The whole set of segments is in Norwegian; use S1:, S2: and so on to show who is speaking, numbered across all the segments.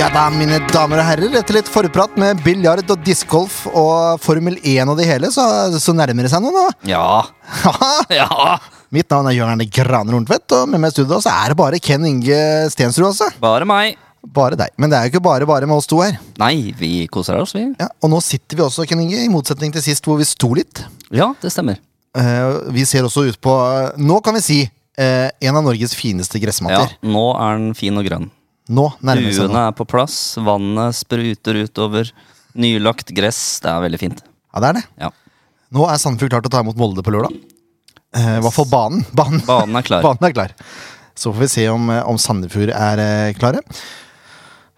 S1: Ja da, mine damer og herrer. Etter litt forprat med biljard og discgolf og Formel 1 og det hele, så, så nærmer det seg noe nå.
S2: Ja.
S1: Haha.
S2: Ja.
S1: Mitt navn er Jørn Erne Graner Horntvedt, og med meg i studio så er det bare Ken Inge Stensrud. altså.
S2: Bare meg.
S1: Bare deg. Men det er jo ikke bare bare med oss to her.
S2: Nei, vi koser oss, vi.
S1: Ja, og nå sitter vi også, Ken Inge, i motsetning til sist hvor vi sto litt.
S2: Ja, det stemmer.
S1: Eh, vi ser også ut på eh, Nå kan vi si eh, en av Norges fineste
S2: Ja,
S1: gressmatter.
S2: Nå er den fin og grønn.
S1: Nå nærmer det seg noe.
S2: Duene er sånn. på plass, vannet spruter utover. Nylagt gress. Det er veldig fint.
S1: Ja, det er det.
S2: Ja.
S1: Nå er Sandefjord klar til å ta imot Molde på lørdag. Eh, I hvert fall banen. Banen,
S2: Banen er klar.
S1: banen er klar. Så får vi se om, eh, om Sandefjord er eh, klare.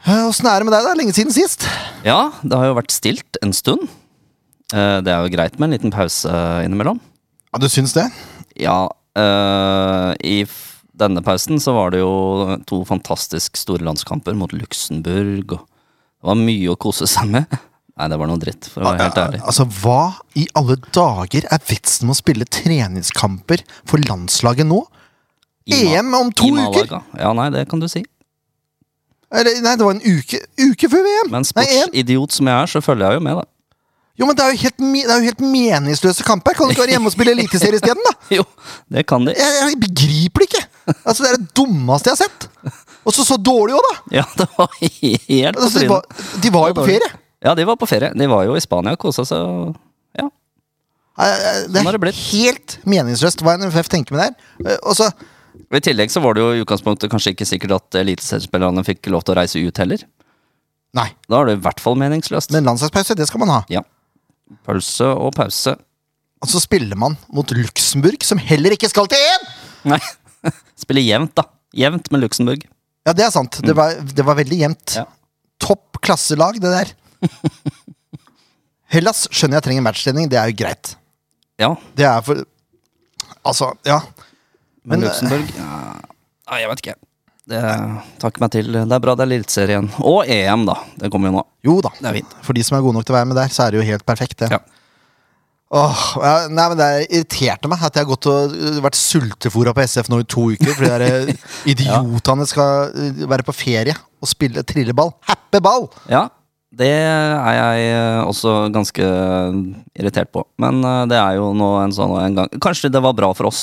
S1: Eh, Åssen er det med deg, da? Lenge siden sist.
S2: Ja, det har jo vært stilt en stund. Eh, Det er jo greit med en liten pause eh, innimellom.
S1: Ja, Du syns det?
S2: Ja, eh, i f- denne pausen så var det jo to fantastisk store landskamper mot Luxembourg, og det var mye å kose seg med. Nei, det var noe dritt, for å være helt ærlig.
S1: Altså, Hva i alle dager er vitsen med å spille treningskamper for landslaget nå?
S2: I Ma-
S1: EM om E to
S2: i
S1: uker!
S2: Malaga. Ja, nei, det kan du si.
S1: Eller, nei, det var en uke, uke før VM!
S2: Men
S1: Nei, EM.
S2: sportsidiot som jeg er, så følger jeg jo med, da.
S1: Jo, men det er jo helt, me- det er jo helt meningsløse kamper! Kan du ikke være hjemme og spille eliteserie isteden, da?
S2: Jo, det kan de.
S1: Jeg, jeg begriper det ikke! Altså, Det er det dummeste jeg har sett! Og så så dårlig òg, da!
S2: Ja, det var helt på
S1: Altså, de,
S2: trynet.
S1: var, de var jo på ferie!
S2: Ja, de var på ferie. De var jo i Spania og kosa seg. og- Ja.
S1: Eh, eh, Det
S2: Sånn har det
S1: er
S2: blitt.
S1: helt meningsløst hva NFF tenker med det her. Eh, Og så
S2: Og I tillegg så var det jo i utgangspunktet kanskje ikke sikkert at eliteseriespillerne fikk lov til å reise ut heller.
S1: Nei.
S2: Da er det i hvert fall meningsløst.
S1: Men landslagspause, det skal man ha.
S2: Ja. Pølse og pause.
S1: Og så spiller man mot Luxembourg, som heller ikke skal til EM!
S2: Nei. Spille jevnt, da. Jevnt med Luxembourg.
S1: Ja, det er sant. Det var, det var veldig jevnt.
S2: Mm. Ja.
S1: Topp klasselag, det der. Hellas skjønner jeg trenger matchtrening, det er jo greit.
S2: Ja,
S1: Det er for Altså, ja.
S2: men,
S1: Men, eh,
S2: Luxembourg ja. Nei, jeg vet ikke. Det takker meg til. Det er bra det er Eliteserien. Og EM, da. Det kommer jo nå.
S1: Jo da.
S2: Det er fint.
S1: For de som er gode nok til å være med der, så er det jo helt perfekt, det.
S2: Ja.
S1: Åh, ja, nei, men Det irriterte meg at jeg har gått og øh, vært sultefòra på SF nå i to uker. For de der øh, idiotene skal øh, være på ferie og spille trilleball. Happy ball!
S2: Ja, det er jeg eh, også ganske eh, irritert på. Men eh, det er jo nå en sånn en gang Kanskje det var bra for oss,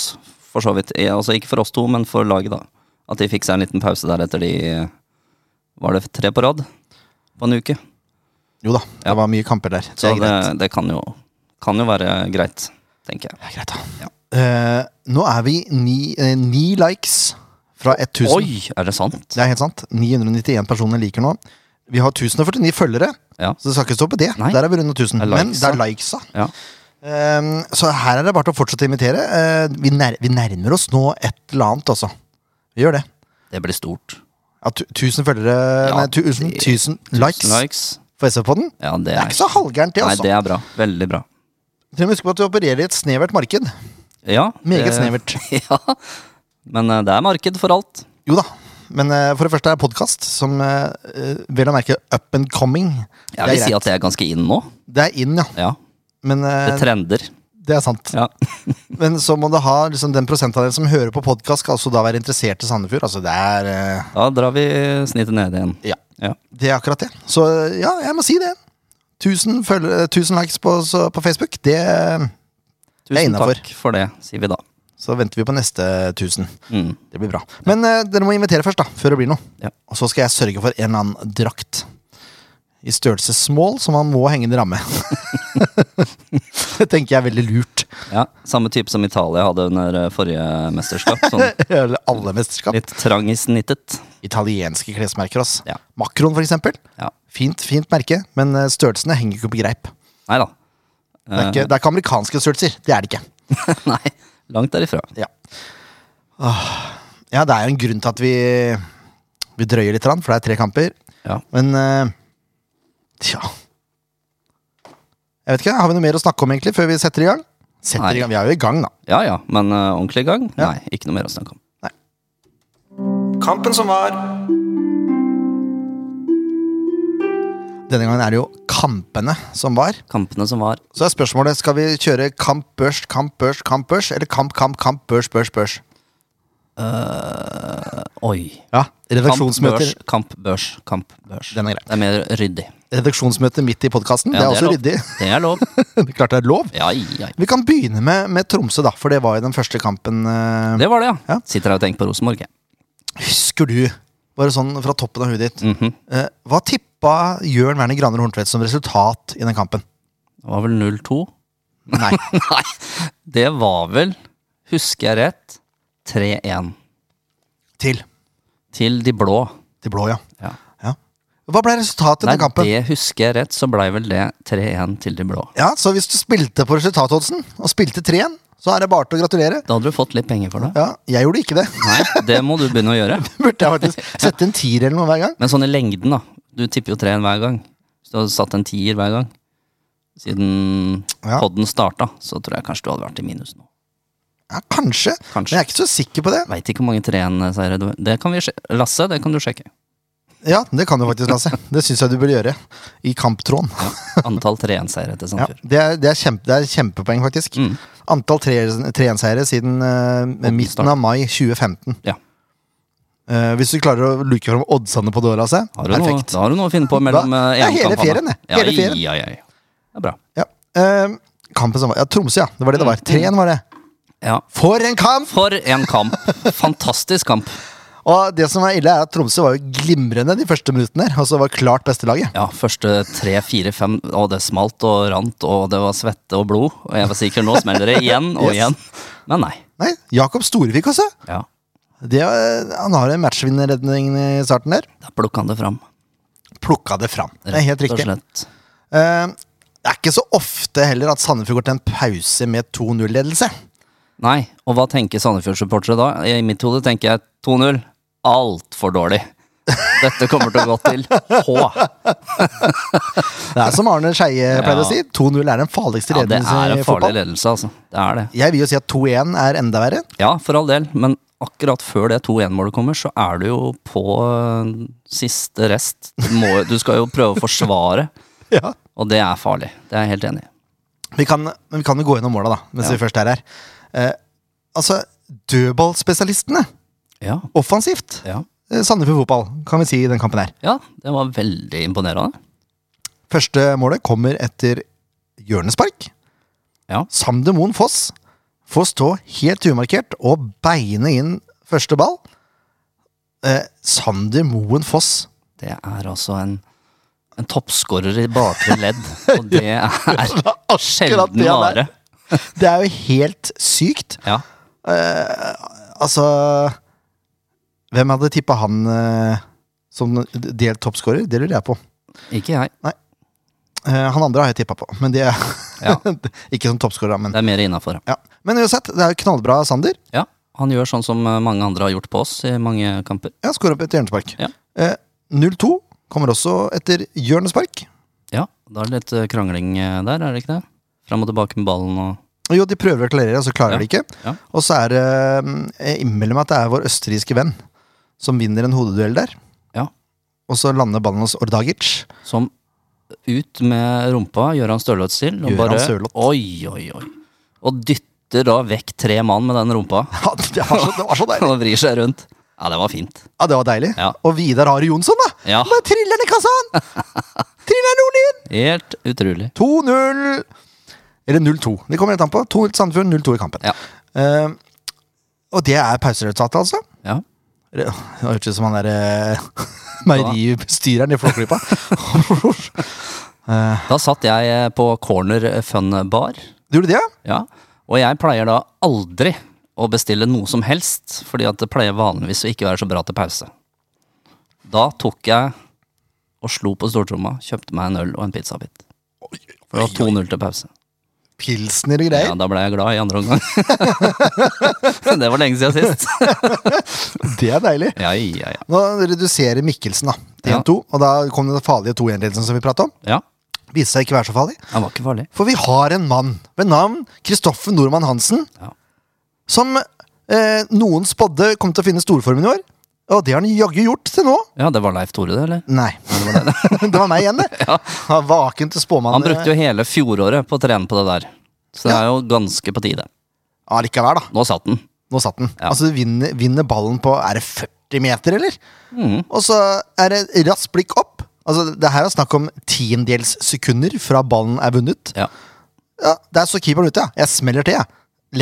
S2: for så vidt. Eh, Altså ikke for oss to, men for laget, da. At de fikk seg en liten pause der etter de Var det tre på rad? På en uke.
S1: Jo da,
S2: Ja.
S1: det var mye kamper der. Det
S2: Så
S1: er
S2: det,
S1: greit.
S2: det kan, jo, kan jo være greit, tenker jeg.
S1: Det er greit da. Eh, nå er vi ni, eh, ni likes fra 1000.
S2: Oi, er det sant?
S1: Det er helt sant. 991 personer liker nå. Vi har 1049 følgere,
S2: Ja.
S1: så det skal ikke stå på det.
S2: Nei.
S1: Der er vi runde 1000.
S2: Det er
S1: Men
S2: likesa.
S1: det er likesa.
S2: Ja.
S1: Ehm, så her er det bare til å fortsette å invitere. Eh, vi, nær, vi nærmer oss nå et eller annet, altså. Vi gjør det.
S2: Det blir stort.
S1: Ja, tu, tusen følgere
S2: Ja,
S1: Nei, tusen,
S2: det-
S1: tusen likes
S2: Likes.
S1: på SV-podden.
S2: Ja, det
S1: Det er
S2: er,
S1: ikke så halvgærent, det,
S2: Nei,
S1: altså.
S2: det er bra. Veldig bra.
S1: Dere må huske på at vi opererer i et snevert marked.
S2: Ja,
S1: Meget
S2: det-
S1: snevert.
S2: Ja. Men eh, det er marked for alt.
S1: Jo da. Men eh, for det første er podkast, som eh, eh, vel å merke up and coming.
S2: Jeg vil
S1: det, er
S2: si
S1: greit.
S2: at det er ganske inn nå.
S1: det er in, ja.
S2: Ja,
S1: Men eh,
S2: Det trender.
S1: det er sant.
S2: Ja.
S1: Men så må det ha liksom, den prosentandelen som hører på podkast, skal altså da være interessert i Sandefjord. Altså, det er eh,
S2: Da drar vi snittet ned igjen.
S1: Ja.
S2: Ja.
S1: Det er akkurat det. Så ja, jeg må si det. 1000, følge, 1000 likes på, så, på Facebook, det Det er
S2: Tusen
S1: innenfor.
S2: takk for det, sier vi da.
S1: Så venter vi på neste 1000.
S2: Mm.
S1: Det blir bra. Men eh, dere må invitere først, da, før det blir noe.
S2: Ja.
S1: Og så skal jeg sørge for en eller annen drakt. I størrelse small, så man må henge en ramme. det tenker jeg er veldig lurt.
S2: Ja, Samme type som Italia hadde under eh, forrige mesterskap. Sånn
S1: Eller alle mesterskap.
S2: litt trang i snittet.
S1: Italienske klesmerker, ass.
S2: Ja.
S1: Makron, for eksempel.
S2: Ja.
S1: Fint, fint merke, men eh, størrelsene henger ikke på greip.
S2: Nei da.
S1: Det
S2: Eh.
S1: er ikke, det er ikke amerikanske størrelser. Det er det ikke.
S2: Nei, langt derifra.
S1: Ja. Ah, ja, det er jo en grunn til at vi, vi drøyer litt, grann, for det er tre kamper.
S2: Ja.
S1: Men eh, tja Jeg vet ikke, Har vi noe mer å snakke om egentlig før vi setter i gang? Setter
S2: Nei.
S1: i gang, Vi er jo i gang, da.
S2: Ja ja, men eh, ordentlig i gang?
S1: Ja.
S2: Nei, ikke noe mer å snakke om.
S1: Kampen som var. Denne gangen er det jo kampene som var.
S2: Kampene som var.
S1: Så er spørsmålet skal vi kjøre kamp børs, kamp børs, kamp børs, eller kamp, kamp, kamp, børs, børs, børs.
S2: Oi.
S1: Ja, Redaksjonsmøter,
S2: Kampbørs. Kampbørs.
S1: Den er grei.
S2: Det er mer ryddig.
S1: redaksjonsmøter midt i podkasten,
S2: Ja,
S1: det er også
S2: lov.
S1: ryddig.
S2: Det er lov.
S1: Det er Klart det er lov.
S2: Ja, ja.
S1: Vi kan begynne med, med Tromsø, da, for det var jo den første kampen. eh,
S2: Det var det, ja.
S1: Ja.
S2: Sitter her og tenker på Rosenborg. jeg.
S1: Husker du, bare sånn fra toppen av huet ditt,
S2: Mhm.
S1: eh, hva tippa Jørn Werner Graner Horntvedt som resultat i den kampen?
S2: Det var vel 0-2?
S1: Nei.
S2: Nei, det var vel, husker jeg rett, 3-1
S1: Til.
S2: til de blå.
S1: Til blå, ja.
S2: Ja.
S1: ja. Hva ble resultatet i
S2: Nei,
S1: den kampen?
S2: det husker jeg rett, så blei vel det 3-1 til de blå.
S1: Ja, Så hvis du spilte på resultatoddsen, og spilte 3-1, så er det bare til å gratulere.
S2: Da hadde du fått litt penger for det.
S1: Ja, jeg gjorde ikke det.
S2: Nei, det må du begynne å gjøre.
S1: Burde jeg faktisk sette en tier eller noe hver gang?
S2: Men sånn i lengden, da. Du tipper jo 3-1 hver gang. Hvis du hadde satt en tier hver gang siden
S1: Ja.
S2: podden starta, så tror jeg kanskje du hadde vært i minus nå.
S1: Ja, kanskje. Men
S2: Kanskje.
S1: jeg er ikke så sikker på det.
S2: Veit ikke hvor mange 3-1-seiere du Det kan vi sjekke. Lasse, det kan du sjekke.
S1: Ja, det kan du faktisk, Lasse. Det syns jeg du bør gjøre. I kamptråden.
S2: Antall 3-1-seiere til sånn
S1: Ja,
S2: Sandfjord.
S1: det, er, det, er kjempe, det er kjempepoeng, faktisk.
S2: Mm.
S1: Antall 3-1-seiere siden eh, midten av mai 2015.
S2: Ja.
S1: Eh, hvis du klarer å luke fram oddsene på det året, Lasse.
S2: Har du noe,
S1: Perfekt.
S2: da har du noe å finne på mellom
S1: Hva?
S2: eh,
S1: Ja, hele
S2: EM-kampene.
S1: ferien, det. Hele
S2: ja,
S1: ferien.
S2: ja, ja, ja. Det er bra.
S1: Ja. Eh, kampen som var Ja, Tromsø, ja. Det var det
S2: Mm.
S1: det var. 3-1 var det.
S2: Ja.
S1: For en kamp!
S2: For en kamp! Fantastisk kamp.
S1: Og det som er ille, er at Tromsø var jo glimrende de første minuttene. her, Og så var klart beste laget.
S2: Ja, første tre, fire, fem Og det smalt og rant, og det var svette og blod. Og jeg var sikker, nå smeller det igjen og
S1: Yes.
S2: igjen. Men nei.
S1: Nei, Jakob Storevik også.
S2: Ja,
S1: Det, var- han har en matchvinnerredning i starten der.
S2: da plukka han det fram.
S1: Plukka det fram. Det er helt
S2: rett og
S1: riktig.
S2: slett.
S1: Eh, det er ikke så ofte heller at Sandefjord går til en pause med 2-0-ledelse.
S2: Nei, og hva tenker Sandefjord-supportere da? I mitt hode tenker jeg 2-0. Altfor dårlig. Dette kommer til å gå til H.
S1: Det er som Arne Skeie pleide å
S2: Ja.
S1: si, 2-0 er den farligste
S2: Ja, det
S1: ledelsen
S2: er
S1: i
S2: en farlig
S1: fotball.
S2: ledelse, altså. Det er det.
S1: Jeg vil jo si at 2-1 er enda verre.
S2: Ja, for all del, men akkurat før det 2-1-målet kommer, så er du jo på øh, siste rest. Du, må, du skal jo prøve å forsvare,
S1: Ja.
S2: og det er farlig. Det er jeg helt enig i.
S1: Vi kan, men vi kan jo gå gjennom måla, da, mens vi først er her. Eh, altså, dødballspesialistene
S2: Ja.
S1: offensivt.
S2: ja.
S1: Eh, Sandefjord fotball, kan vi si i den kampen her.
S2: Ja, det var veldig imponerende.
S1: Første målet kommer etter hjørnespark.
S2: Ja.
S1: Sander Moen Foss får stå helt umarkert og beine inn første ball. Eh, Sander Moen Foss.
S2: Det er altså en, en toppskårer i bakre ledd, og det er sjelden
S1: det han er.
S2: vare.
S1: Det er jo helt sykt.
S2: Ja.
S1: Altså Hvem hadde tippa han eh, som delt toppskårer? Det lurer jeg på.
S2: Ikke jeg.
S1: Eh, han andre har jeg tippa på, men det er
S2: Ja.
S1: ikke som toppskårer. da, Men,
S2: Det er mer innafor.
S1: ja. men uansett, det er jo knallbra Sander.
S2: Ja. Han gjør sånn som eh, mange andre har gjort på oss i mange kamper.
S1: Ja, skår opp et hjørnespark.
S2: Ja.
S1: Eh, 0-2 kommer også etter hjørnespark.
S2: Ja, da er det litt eh, krangling eh, der, er det ikke det? Fram og tilbake med ballen og
S1: Og Jo, de prøver å klarere, og så klarer
S2: Ja.
S1: de ikke.
S2: Ja.
S1: Og så er det Jeg innbiller meg at det er vår østerrikske venn som vinner en hodeduell der.
S2: Ja.
S1: Og så lander ballen hos Ordagic.
S2: Som ut med rumpa, Gøran Stølåts til, og
S1: Gøran
S2: bare
S1: Sørloth.
S2: Oi, oi, oi. Og dytter da vekk tre mann med den rumpa.
S1: Ja, det var så, det var så deilig!
S2: Og vrir seg rundt. Ja, det var fint.
S1: Ja, det var deilig.
S2: Ja.
S1: Og Vidar Ari Jonsson, da!
S2: Ja.
S1: Bare triller den i kassa, han! Triller den Nordlien!
S2: Helt utrolig.
S1: 2-0 Eller 0-2. Det kommer helt an på. 2-0 til Sandefjord, 0-2 i kampen.
S2: Ja.
S1: Eh, og det er pauseresultatet, altså.
S2: Ja.
S1: Det det hørtes ut som han derre meieribestyreren i Flåklypa.
S2: Da satt jeg eh, på Corner Fun Bar,
S1: Du gjorde det, ja?
S2: ja. og jeg pleier da aldri å bestille noe som helst, fordi at det pleier vanligvis å ikke være så bra til pause. Da tok jeg og slo på stortromma, kjøpte meg en øl og en pizzabit. For det var 2-0 til pause.
S1: Pilsner og greier.
S2: Ja, da ble jeg glad i andre omgang. det var lenge siden sist.
S1: Det er deilig.
S2: Ja, ja, ja.
S1: Nå reduserer Mikkelsen da til
S2: Ja.
S1: 1-2, og da kom den farlige 2-1-ledelsen som vi prata om.
S2: ja.
S1: Viste seg ikke være så farlig.
S2: Den var ikke farlig.
S1: For vi har en mann ved navn Kristoffer Nordmann Hansen
S2: Ja.
S1: som eh, noen spådde kom til å finne storformen i år. Og det har han jaggu gjort til nå.
S2: Ja, det var Leif Tore, det, eller?
S1: Nei. det var meg igjen, det. Han var Vaken til
S2: Han
S1: spåmannen.
S2: brukte jo hele fjoråret på å trene på det der. Så det er jo ganske på tide.
S1: eh, Allikevel, da.
S2: Nå satt den.
S1: Nå satt den.
S2: Ja.
S1: Altså, du vinner, vinner ballen på Er det 40 meter, eller?
S2: Mhm.
S1: Og så er det raskt blikk opp. Altså, det her er snakk om tiendels sekunder fra ballen er vunnet.
S2: Ja.
S1: Ja, Der står keeperen ute, ja. Jeg smeller til, jeg.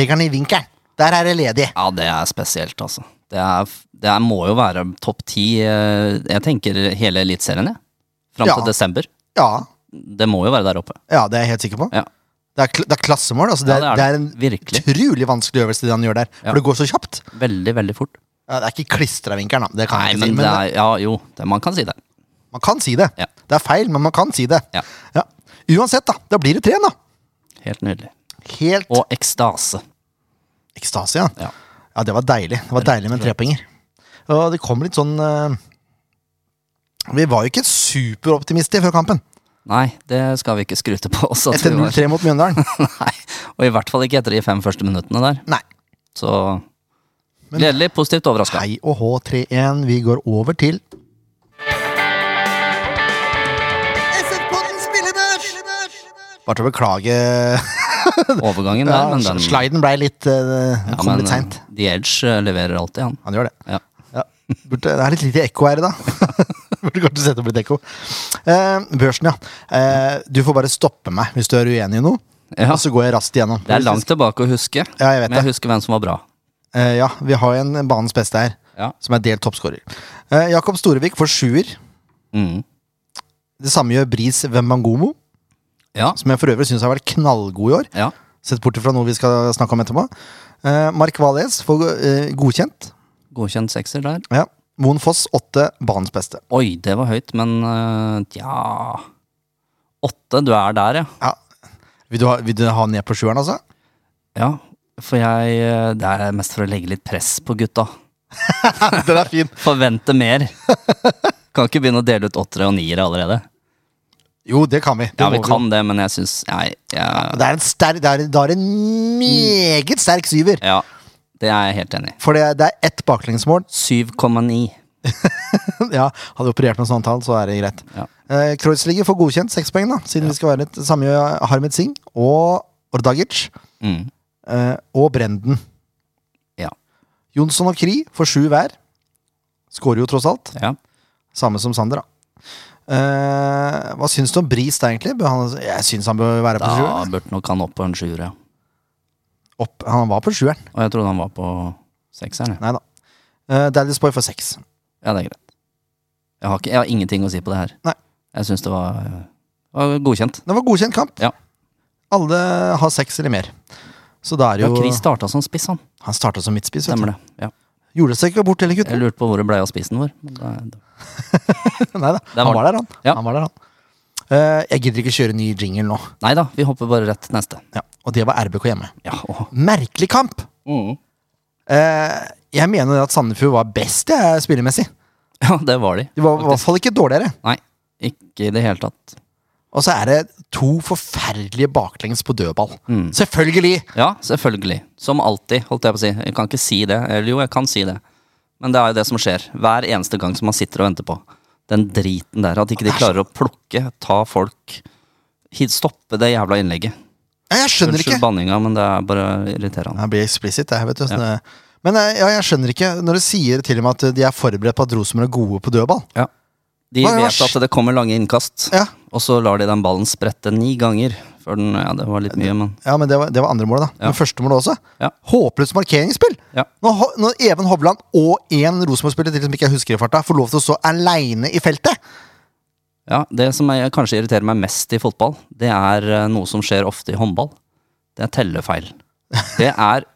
S1: Legger den i vinkelen. Der er det ledig.
S2: ja, det er spesielt, altså. Det, er, det er, må jo være topp ti eh, Jeg tenker hele Eliteserien, jeg. Fram
S1: Ja.
S2: til desember.
S1: Ja,
S2: Det må jo være der oppe.
S1: ja det er jeg helt sikker på.
S2: Ja.
S1: Det, er, kl- det er klassemål. Altså, det,
S2: Ja,
S1: er, det er en
S2: Virkelig.
S1: utrolig vanskelig øvelse det han gjør der.
S2: Ja.
S1: For det går så kjapt.
S2: Veldig, veldig fort.
S1: Ja, det er ikke klistra vinkelen, da. Det kan
S2: Nei,
S1: jeg ikke
S2: men
S1: si.
S2: det
S1: Men
S2: er Ja, jo. Det, man kan si det.
S1: man kan si det.
S2: Ja.
S1: Det er feil, men man kan si det.
S2: Ja.
S1: Ja. Uansett, da. Da blir det tre, da.
S2: Helt nydelig.
S1: Helt
S2: Og ekstase.
S1: ekstase, ja.
S2: Ja.
S1: Ja, det var deilig. Det var deilig med en trepenger. Og det kom litt sånn eh, Vi var jo ikke superoptimister før kampen.
S2: Nei, det skal vi ikke skryte på oss. At
S1: Etter
S2: vi var.
S1: 0-3 mot Mjøndalen.
S2: Nei. Og i hvert fall ikke etter de fem første minuttene der.
S1: Nei.
S2: Så gledelig, positivt overraska.
S1: Hei og hå 3-1. Vi går over til
S3: SF-podden spillebørs!
S1: Bare til å beklage
S2: Overgangen der, men den
S1: Sliden blei litt eh, Den
S2: Ja,
S1: kom
S2: men,
S1: litt seint.
S2: eh, The Edge eh, leverer alltid, han.
S1: Han gjør det.
S2: Ja.
S1: Ja. Burde, det er litt lite ekko her i dag. Burde kanskje sette opp litt ekko. Eh, børsen, ja. Eh, du får bare stoppe meg hvis du er uenig i noe.
S2: Ja.
S1: Og så går jeg raskt igjennom.
S2: Det er langt tilbake å huske,
S1: Ja, jeg vet
S2: men jeg
S1: det.
S2: husker hvem som var bra.
S1: Eh, ja, vi har en banens beste her,
S2: Ja.
S1: som er delt toppskårer. Eh, Jakob Storevik får sjuer.
S2: Mm.
S1: Det samme gjør Bris Wembangomo,
S2: Ja.
S1: som jeg for øvrig syns har vært knallgod i år.
S2: ja.
S1: Sett bort fra noe vi skal snakke om etterpå. Eh, Mark Valles får eh, godkjent.
S2: Godkjent sekser der.
S1: Ja. Moen Foss åtte, banens beste.
S2: Oi, det var høyt, men eh, tja Åtte, du er der, ja.
S1: Ja. Vil, du ha, vil du ha ned på sjueren, altså?
S2: Ja, for jeg eh, Det er mest for å legge litt press på gutta.
S1: Den er fin.
S2: Forvente mer. Kan ikke begynne å dele ut åttere og niere allerede.
S1: Jo, det kan vi. Det
S2: Ja, vi
S1: må jo.
S2: kan det, men jeg syns Nei. Jeg,
S1: Det er en sterk Det er, det er en meget sterk syver.
S2: ja, det er jeg helt enig i.
S1: For det, det er ett baklengsmål.
S2: 7,9.
S1: ja, hadde operert med sånt tall, så er det greit.
S2: Ja.
S1: Eh, Kreuzlige får godkjent seks poeng, da siden vi skal være litt samme gjør Harmet Singh og Ordagic.
S2: Mm.
S1: Eh, og Brenden.
S2: Ja.
S1: Jonsson og Kri får sju hver. Skårer jo tross alt.
S2: ja.
S1: Samme som Sander, da. Eh, hva syns du om Bris, da, egentlig? Bør han, jeg syns han bør være på
S2: Da
S1: sjueren.
S2: burde nok han opp på en sjuer, ja.
S1: Opp- Han var på sjueren.
S2: Og jeg trodde han var på sekseren. ja.
S1: Nei da. Uh, Daddy's Boy får seks.
S2: Ja, det er greit. Jeg har, ikke, jeg har ingenting å si på det her.
S1: Nei.
S2: Jeg syns det var, var godkjent.
S1: Det var godkjent kamp.
S2: Ja.
S1: Alle har seks eller mer. Så da er det
S2: Ja,
S1: jo
S2: Chris starta som spiss, han.
S1: Han starta som midtspiss. vet du.
S2: Stemmer det. Ja.
S1: Gjorde seg ikke bort, eller
S2: Jeg
S1: gutten?
S2: lurte på hvor det ble av spissen vår. Men det,
S1: Nei da.
S2: var
S1: Han var der, han.
S2: Ja.
S1: han, var der, han. Eh, jeg gidder ikke kjøre ny jingle nå.
S2: nei da, vi hopper bare rett til neste.
S1: Ja. Og det var RBK hjemme.
S2: Ja, og,
S1: Merkelig kamp! Eh, jeg mener at Sandefjord var best jeg, spillemessig.
S2: ja det var de.
S1: De var i hvert fall ikke dårligere.
S2: Nei, ikke i det hele tatt.
S1: Og så er det to forferdelige baklengs på dødball.
S2: Mm.
S1: Selvfølgelig!
S2: Ja, selvfølgelig. Som alltid, holdt jeg på å si. Jeg kan ikke si det. Eller jo, jeg kan si det. Men det er jo det som skjer. Hver eneste gang som man sitter og venter på. Den driten der. At ikke de klarer å plukke, ta folk hit- Stoppe det jævla innlegget.
S1: Nei, Jeg skjønner ikke!
S2: Unnskyld banninga, men det er bare irriterende.
S1: Jeg blir explicit, jeg, vet du. sånn, eh. Men eh, ja, jeg skjønner ikke når du sier til og med at de er forberedt på at Rosenborg er gode på dødball.
S2: Ja. De
S1: Hva er
S2: vet
S1: vers?
S2: at det kommer lange innkast,
S1: Ja,
S2: og så lar de den ballen sprette ni ganger. Før den, ja, det var litt mye, men
S1: ja men det var, det var andre målet, da.
S2: Ja.
S1: Men første målet også.
S2: Ja.
S1: Håpløst markeringsspill!
S2: Ja.
S1: Når, Ho- når Even Hovland og én Rosenborg-spiller til som ikke jeg husker i farta, får lov til å stå aleine i feltet!
S2: ja, Det som jeg, kanskje irriterer meg mest i fotball, det er eh, noe som skjer ofte i håndball. Det er tellefeil. Det er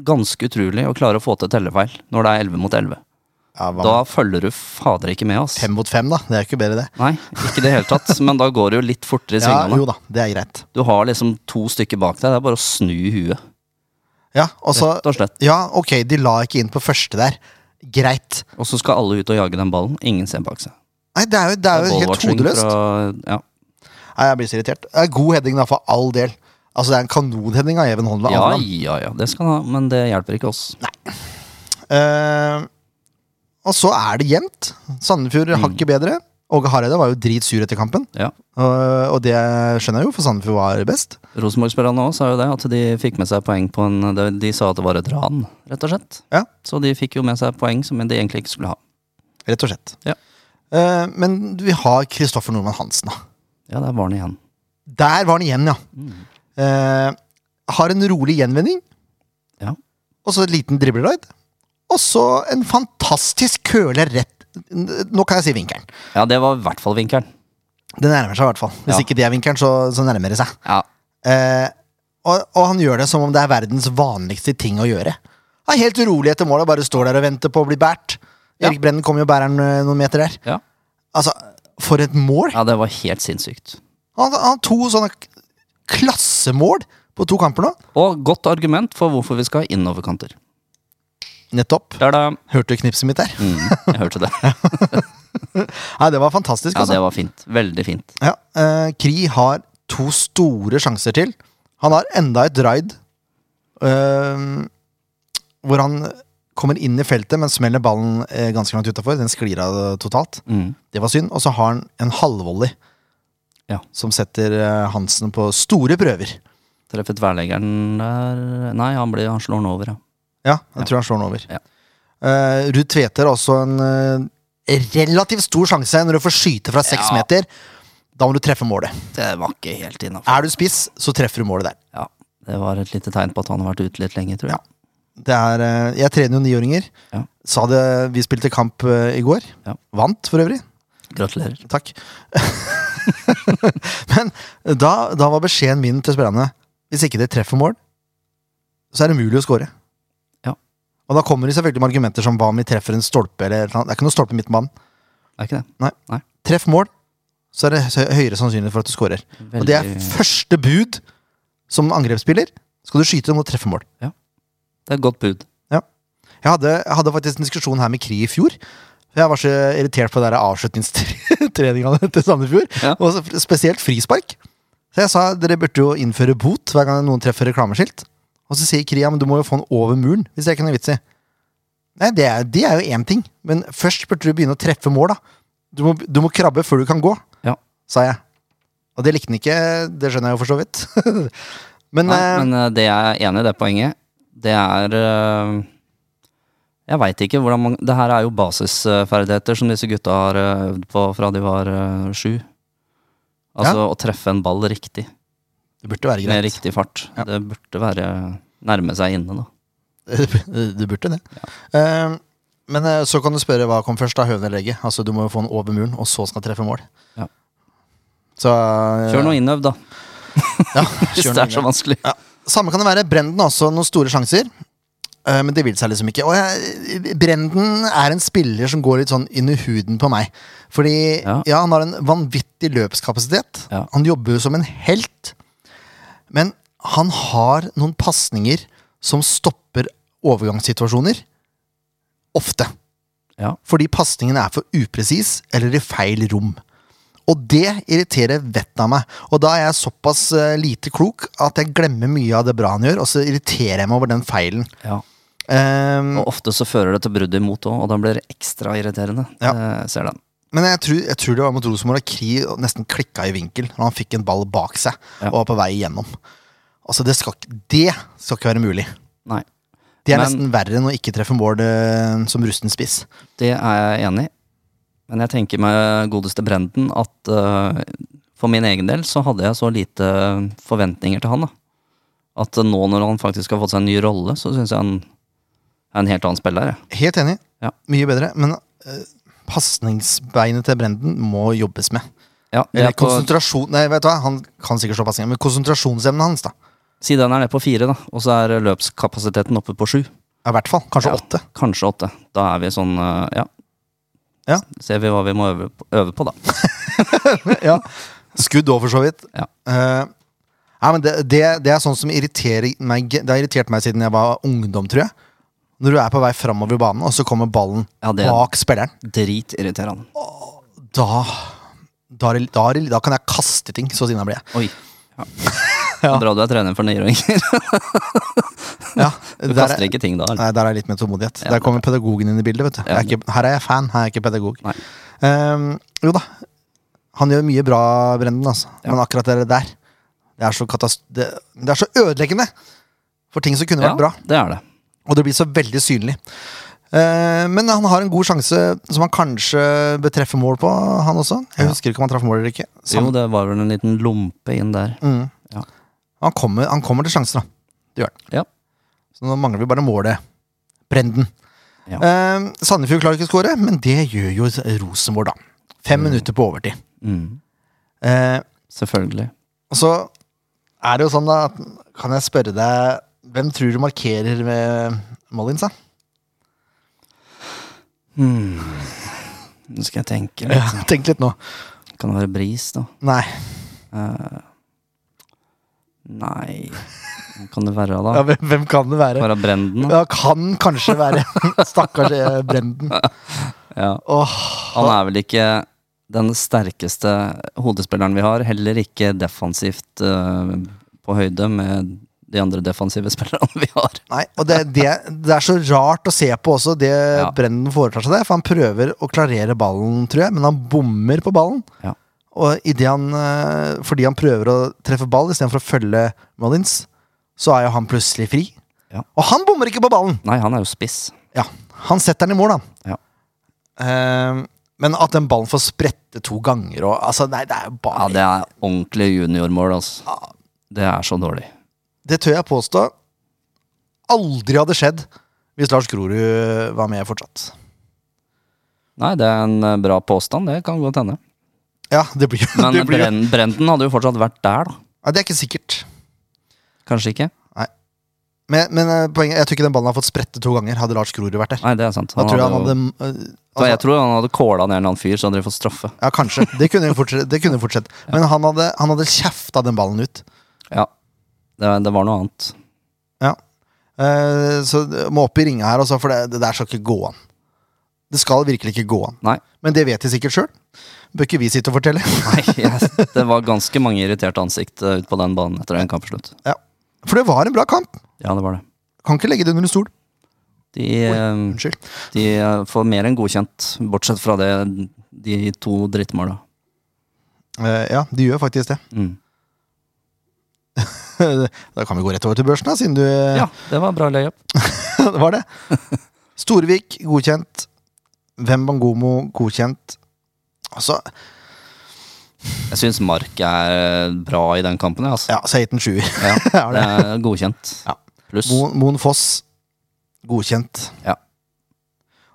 S2: ganske utrolig å klare å få til tellefeil når det er 11 mot 11.
S1: Ja, hva
S2: Da følger du fader ikke med, ass.
S1: Fem mot fem, da. Det er jo ikke bedre, det.
S2: Nei, ikke i det hele tatt, men da går det jo litt fortere i
S1: Ja,
S2: svingene.
S1: jo da, det er greit.
S2: Du har liksom to stykker bak deg, det er bare å snu huet,
S1: Ja, og så
S2: rett og slett.
S1: Ja, ok, de la ikke inn på første der. Greit.
S2: Og så skal alle ut og jage den ballen. Ingen ser bak seg.
S1: Nei, det er jo, det er jo helt
S2: Ballwatching
S1: hodeløst.
S2: fra- ja.
S1: Nei, jeg blir så irritert. Det er god heading, da, for all del. Altså, det er en kanonheading av Even Hovland.
S2: ja, ja, ja, det skal han ha, men det hjelper ikke oss. Mm.
S1: Eh, og så er det jevnt. Sandefjord hakket bedre. Og Hareide var jo dritsur etter kampen,
S2: Ja.
S1: og, og det skjønner jeg jo, for Sandefjord var best.
S2: Rosenborg-spillerne òg sa jo det, at de fikk med seg poeng på en De, de sa at det var et ran, rett og slett.
S1: Ja.
S2: Så de fikk jo med seg poeng som de egentlig ikke skulle ha.
S1: Rett og slett.
S2: Ja.
S1: Eh, men vi har Kristoffer Nordmann Hansen, da.
S2: Ja, der var han igjen.
S1: Der var han igjen, ja.
S2: Mm.
S1: Eh, har en rolig gjenvending.
S2: Ja.
S1: Og så et liten dribleraid. Og så en fantastisk køle rett Nå kan jeg si vinkelen.
S2: Ja, det var i hvert fall vinkelen.
S1: Det nærmer seg i hvert fall. Hvis
S2: Ja.
S1: ikke det er vinkelen, så, så nærmer det seg.
S2: Ja.
S1: Eh, og, og han gjør det som om det er verdens vanligste ting å gjøre. Han er helt urolig etter målet, bare står der og venter på å bli båret.
S2: Ja.
S1: Erik Brennen kommer jo og bærer han eh, noen meter der.
S2: Ja.
S1: Altså, for et mål!
S2: ja, det var helt sinnssykt.
S1: Han han har to sånne k- klassemål på to kamper nå.
S2: Og godt argument for hvorfor vi skal ha innoverkanter.
S1: Nettopp.
S2: Der da.
S1: Hørte du knipset mitt der?
S2: Mm, jeg hørte det.
S1: Nei, det var fantastisk.
S2: Ja,
S1: Altså.
S2: det var fint. Veldig fint.
S1: Ja, eh, Kri har to store sjanser til. Han har enda et raid eh, hvor han kommer inn i feltet, men smeller ballen eh, ganske langt utafor. Den sklir av totalt.
S2: Mm.
S1: Det var synd. Og så har han en halvvolley
S2: Ja.
S1: som setter eh, Hansen på store prøver.
S2: Treffer tverrleggeren der Nei, han, blir, han slår den over, ja.
S1: Ja, jeg tror han slår den over.
S2: Ja.
S1: Eh, Ruud Tveter har også en eh, relativt stor sjanse når du får skyte fra seks
S2: Ja.
S1: meter. Da må du treffe målet.
S2: Det var ikke helt innafor.
S1: Er du spiss, så treffer du målet der.
S2: Ja, det var et lite tegn på at han har vært ute litt lenge, tror jeg.
S1: Det er, eh, jeg trener jo niåringer.
S2: Ja.
S1: Sa det Vi spilte kamp eh, i går.
S2: Ja.
S1: Vant, for øvrig.
S2: Gratulerer.
S1: Takk. Men da, da var beskjeden min til spillerne hvis ikke det treffer mål, så er det umulig å score.
S2: Ja.
S1: Og da kommer de selvfølgelig med argumenter som hva om vi treffer en stolpe eller et eller annet. Det er ikke noe stolpe midt på banen.
S2: Er ikke det?
S1: Treff mål, så er det hø- høyere sannsynlighet for at du scorer. Og det er
S2: Veldig-
S1: første bud som angrepsspiller. Skal du skyte, må du treffe mål.
S2: det er et godt bud.
S1: Jeg hadde, jeg hadde faktisk en diskusjon her med Kri i fjor. Jeg var så irritert på den der avslutningstreningene til Sandefjord.
S2: Ja.
S1: Og så f- spesielt frispark. Så jeg sa dere burde jo innføre bot hver gang noen treffer reklameskilt. Og så sier Kri ja, men du må jo få den over muren. Hvis det er ikke noe vits i. Nei, det er, det er jo én ting, men først burde du begynne å treffe mål, da. Du må, du må krabbe før du kan gå,
S2: Ja.
S1: sa jeg. Og det likte han ikke, det skjønner jeg jo for så vidt. men,
S2: Nei,
S1: eh,
S2: men eh, det jeg er enig i det poenget, det er eh, Jeg veit ikke hvordan man Det her er jo basisferdigheter som disse gutta har eh, øvd på fra de var eh, sju. Altså å treffe en ball riktig,
S1: det burde være
S2: med
S1: greit.
S2: riktig fart.
S1: Ja.
S2: Det burde være nærme seg inne, da.
S1: Du burde det. Eh, men eh, så kan du spørre hva kom først, da. Høne eller egget? Altså, du må jo få den over muren, og så skal den treffe mål.
S2: Ja.
S1: Så eh,
S2: Eh, Kjør noe innøvd, da,
S1: Ja,
S2: hvis
S1: kjør
S2: det
S1: noe
S2: er så
S1: inn.
S2: vanskelig.
S1: Ja. Samme kan det være. Brenden har også noen store sjanser. eh, Men det vil seg liksom ikke. Og jeg, Brenden er en spiller som går litt sånn inn i huden på meg. Fordi ja,
S2: Ja.
S1: han har en vanvittig løpskapasitet.
S2: Ja.
S1: Han jobber jo som en helt. Men han har noen pasninger som stopper overgangssituasjoner. Ofte.
S2: Ja.
S1: Fordi pasningene er for upresis eller i feil rom. Og det irriterer vettet av meg. Og da er jeg såpass eh, lite klok at jeg glemmer mye av det bra han gjør, og så irriterer jeg meg over den feilen.
S2: Ja.
S1: Ehm,
S2: Og ofte så fører det til brudd imot òg, og da blir det ekstra irriterende.
S1: Ja.
S2: Eh, Ser den.
S1: men jeg tror, jeg tror det var mot Rosenborg at Kri nesten klikka i vinkel når han fikk en ball bak seg
S2: Ja.
S1: og var på vei igjennom. Altså, det skal, ikke- det skal ikke være mulig.
S2: Nei.
S1: Det er
S2: Men-
S1: nesten verre enn å ikke treffe mål eh, som rusten spiss.
S2: Det er jeg enig i. Men jeg tenker med godeste Brenden at eh, for min egen del så hadde jeg så lite forventninger til han. da. At eh, nå når han faktisk har fått seg en ny rolle, så syns jeg han er en helt annen spiller. Jeg.
S1: Helt enig.
S2: Ja.
S1: Mye bedre. Men eh, pasningsbeinet til Brenden må jobbes med.
S2: Ja, det
S1: Eller
S2: er på,
S1: konsentrasjon Nei, vet du hva, han kan sikkert slå pasninger, men konsentrasjonsevnen hans, da.
S2: si den er nede på fire, da, og så er løpskapasiteten oppe på sju.
S1: Ja, I hvert fall. Kanskje
S2: Ja.
S1: åtte.
S2: Kanskje åtte. Da er vi sånn, eh, ja.
S1: Ja.
S2: Ser vi hva vi må øve på, øve på da.
S1: ja. Skudd òg, for så vidt.
S2: Ja.
S1: Eh, nei, men det, det, det er sånn som irriterer meg Det har irritert meg siden jeg var ungdom, tror jeg. Når du er på vei framover i banen, og så kommer ballen
S2: Ja, det er
S1: bak spilleren.
S2: dritirriterende.
S1: Da da, er det- da, er det- da kan jeg kaste ting, så sinna blir jeg.
S2: Oi. Ja. Bra du er trener for niåringer.
S1: Ja,
S2: Du
S1: der er-
S2: kaster ikke ting da. eller?
S1: Nei, der er jeg litt mer tålmodighet.
S2: Ja,
S1: der kommer pedagogen inn i bildet. vet du
S2: Ja,
S1: jeg er ikke, Her er jeg fan, her er jeg ikke pedagog.
S2: Nei.
S1: Ehm, jo da. Han gjør mye bra, Brenden, altså.
S2: Ja.
S1: men akkurat det der det er, så katast det, det er så ødeleggende for ting som kunne vært bra.
S2: det er det.
S1: Og det blir så veldig synlig. Eh, men han har en god sjanse som han kanskje bør treffe mål på, han også. Jeg
S2: Ja.
S1: husker ikke om han traff mål eller ikke. Sam-
S2: Jo, det var vel en liten lompe inn der.
S1: Mm.
S2: Ja.
S1: Han, kommer, han kommer til sjanser, da. Det gjør han.
S2: Ja.
S1: Så nå mangler vi bare målet. Brenden.
S2: Ja.
S1: Eh, Sandefjord klarer ikke å skåre, men det gjør jo Rosenborg, da. Fem minutter på overtid.
S2: Mm.
S1: Eh,
S2: Selvfølgelig.
S1: og så er det jo sånn, da, at kan jeg spørre deg Hvem tror du markerer med Mollins, da?
S2: Mm. Nå skal jeg tenke litt.
S1: Tenk litt nå.
S2: Kan det være Bris, da?
S1: Nei.
S2: Eh, nei Hvem Kan det være, da?
S1: Ja, hvem, hvem kan det være?
S2: Være Brenden? da?
S1: Ja, kan kanskje være Stakkars eh, Brenden.
S2: Ja.
S1: Åh,
S2: Han er vel ikke den sterkeste hodespilleren vi har. Heller ikke defensivt eh, på høyde med de andre defensive spillerne vi har.
S1: nei, og det, det, det er så rart å se på også det
S2: Ja.
S1: Brenden foretar seg der. For han prøver å klarere ballen, tror jeg, men han bommer på ballen.
S2: Ja.
S1: Og i det han, eh, fordi han prøver å treffe ball istedenfor å følge Mullins, så er jo han plutselig fri.
S2: Ja.
S1: Og han bommer ikke på ballen!
S2: Nei, han er jo spiss.
S1: Ja, Han setter den i mål, han.
S2: Ja.
S1: Eh, men at den ballen får sprette to ganger og altså, Nei, det er jo bare
S2: Ja, det er ordentlig juniormål, altså.
S1: Ja.
S2: Det er så dårlig.
S1: Det tør jeg påstå aldri hadde skjedd hvis Lars Grorud var med fortsatt.
S2: Nei, det er en eh, bra påstand, det kan godt hende.
S1: Ja, det blir jo
S2: Men
S1: det, blir, jo-
S2: Bren Brenden hadde jo fortsatt vært der, da.
S1: ja, det er ikke sikkert.
S2: Kanskje ikke?
S1: Men, men eh, poenget, jeg tror ikke den ballen har fått sprette to ganger, hadde Lars Grorud vært der.
S2: Nei, det er sant.
S1: Da tror jeg han
S2: jo-
S1: hadde eh,
S2: Da, jeg
S1: altså,
S2: tror han hadde kåla ned en eller annen fyr, så hadde de fått straffe.
S1: Ja, kanskje. Det kunne jo fortsette. Det kunne jo fortsette. Men han hadde, han hadde kjefta den ballen ut.
S2: Ja, det, det var noe annet.
S1: Ja. Eh, så det- må opp i ringa her, også, for det, det der skal ikke gå an. Det skal virkelig ikke gå an.
S2: Nei,
S1: Men det vet de sikkert sjøl. Bør ikke vi sitte og fortelle.
S2: nei jeg, det var ganske mange irriterte ansikt eh, ute på den banen etter en kampslutt.
S1: Ja. For det var en bra kamp.
S2: Ja, det var det.
S1: Kan ikke legge det under en stol.
S2: De, eh,
S1: Unnskyld.
S2: de eh, får mer enn godkjent, bortsett fra det, de to drittmåla.
S1: Eh, ja, de gjør faktisk det.
S2: Mm.
S1: da kan vi gå rett over til børsen, da, siden du eh,
S2: Ja, det var bra layup.
S1: Det var det. Storvik godkjent. Hvem Bangomo godkjent. Altså,
S2: Jeg syns Mark er eh, bra i den kampen, jeg, altså.
S1: ja, 16-7.
S2: Ja,
S1: Er det.
S2: det er godkjent.
S1: Ja.
S2: Pluss.
S1: Moen- Moen Foss godkjent.
S2: Ja.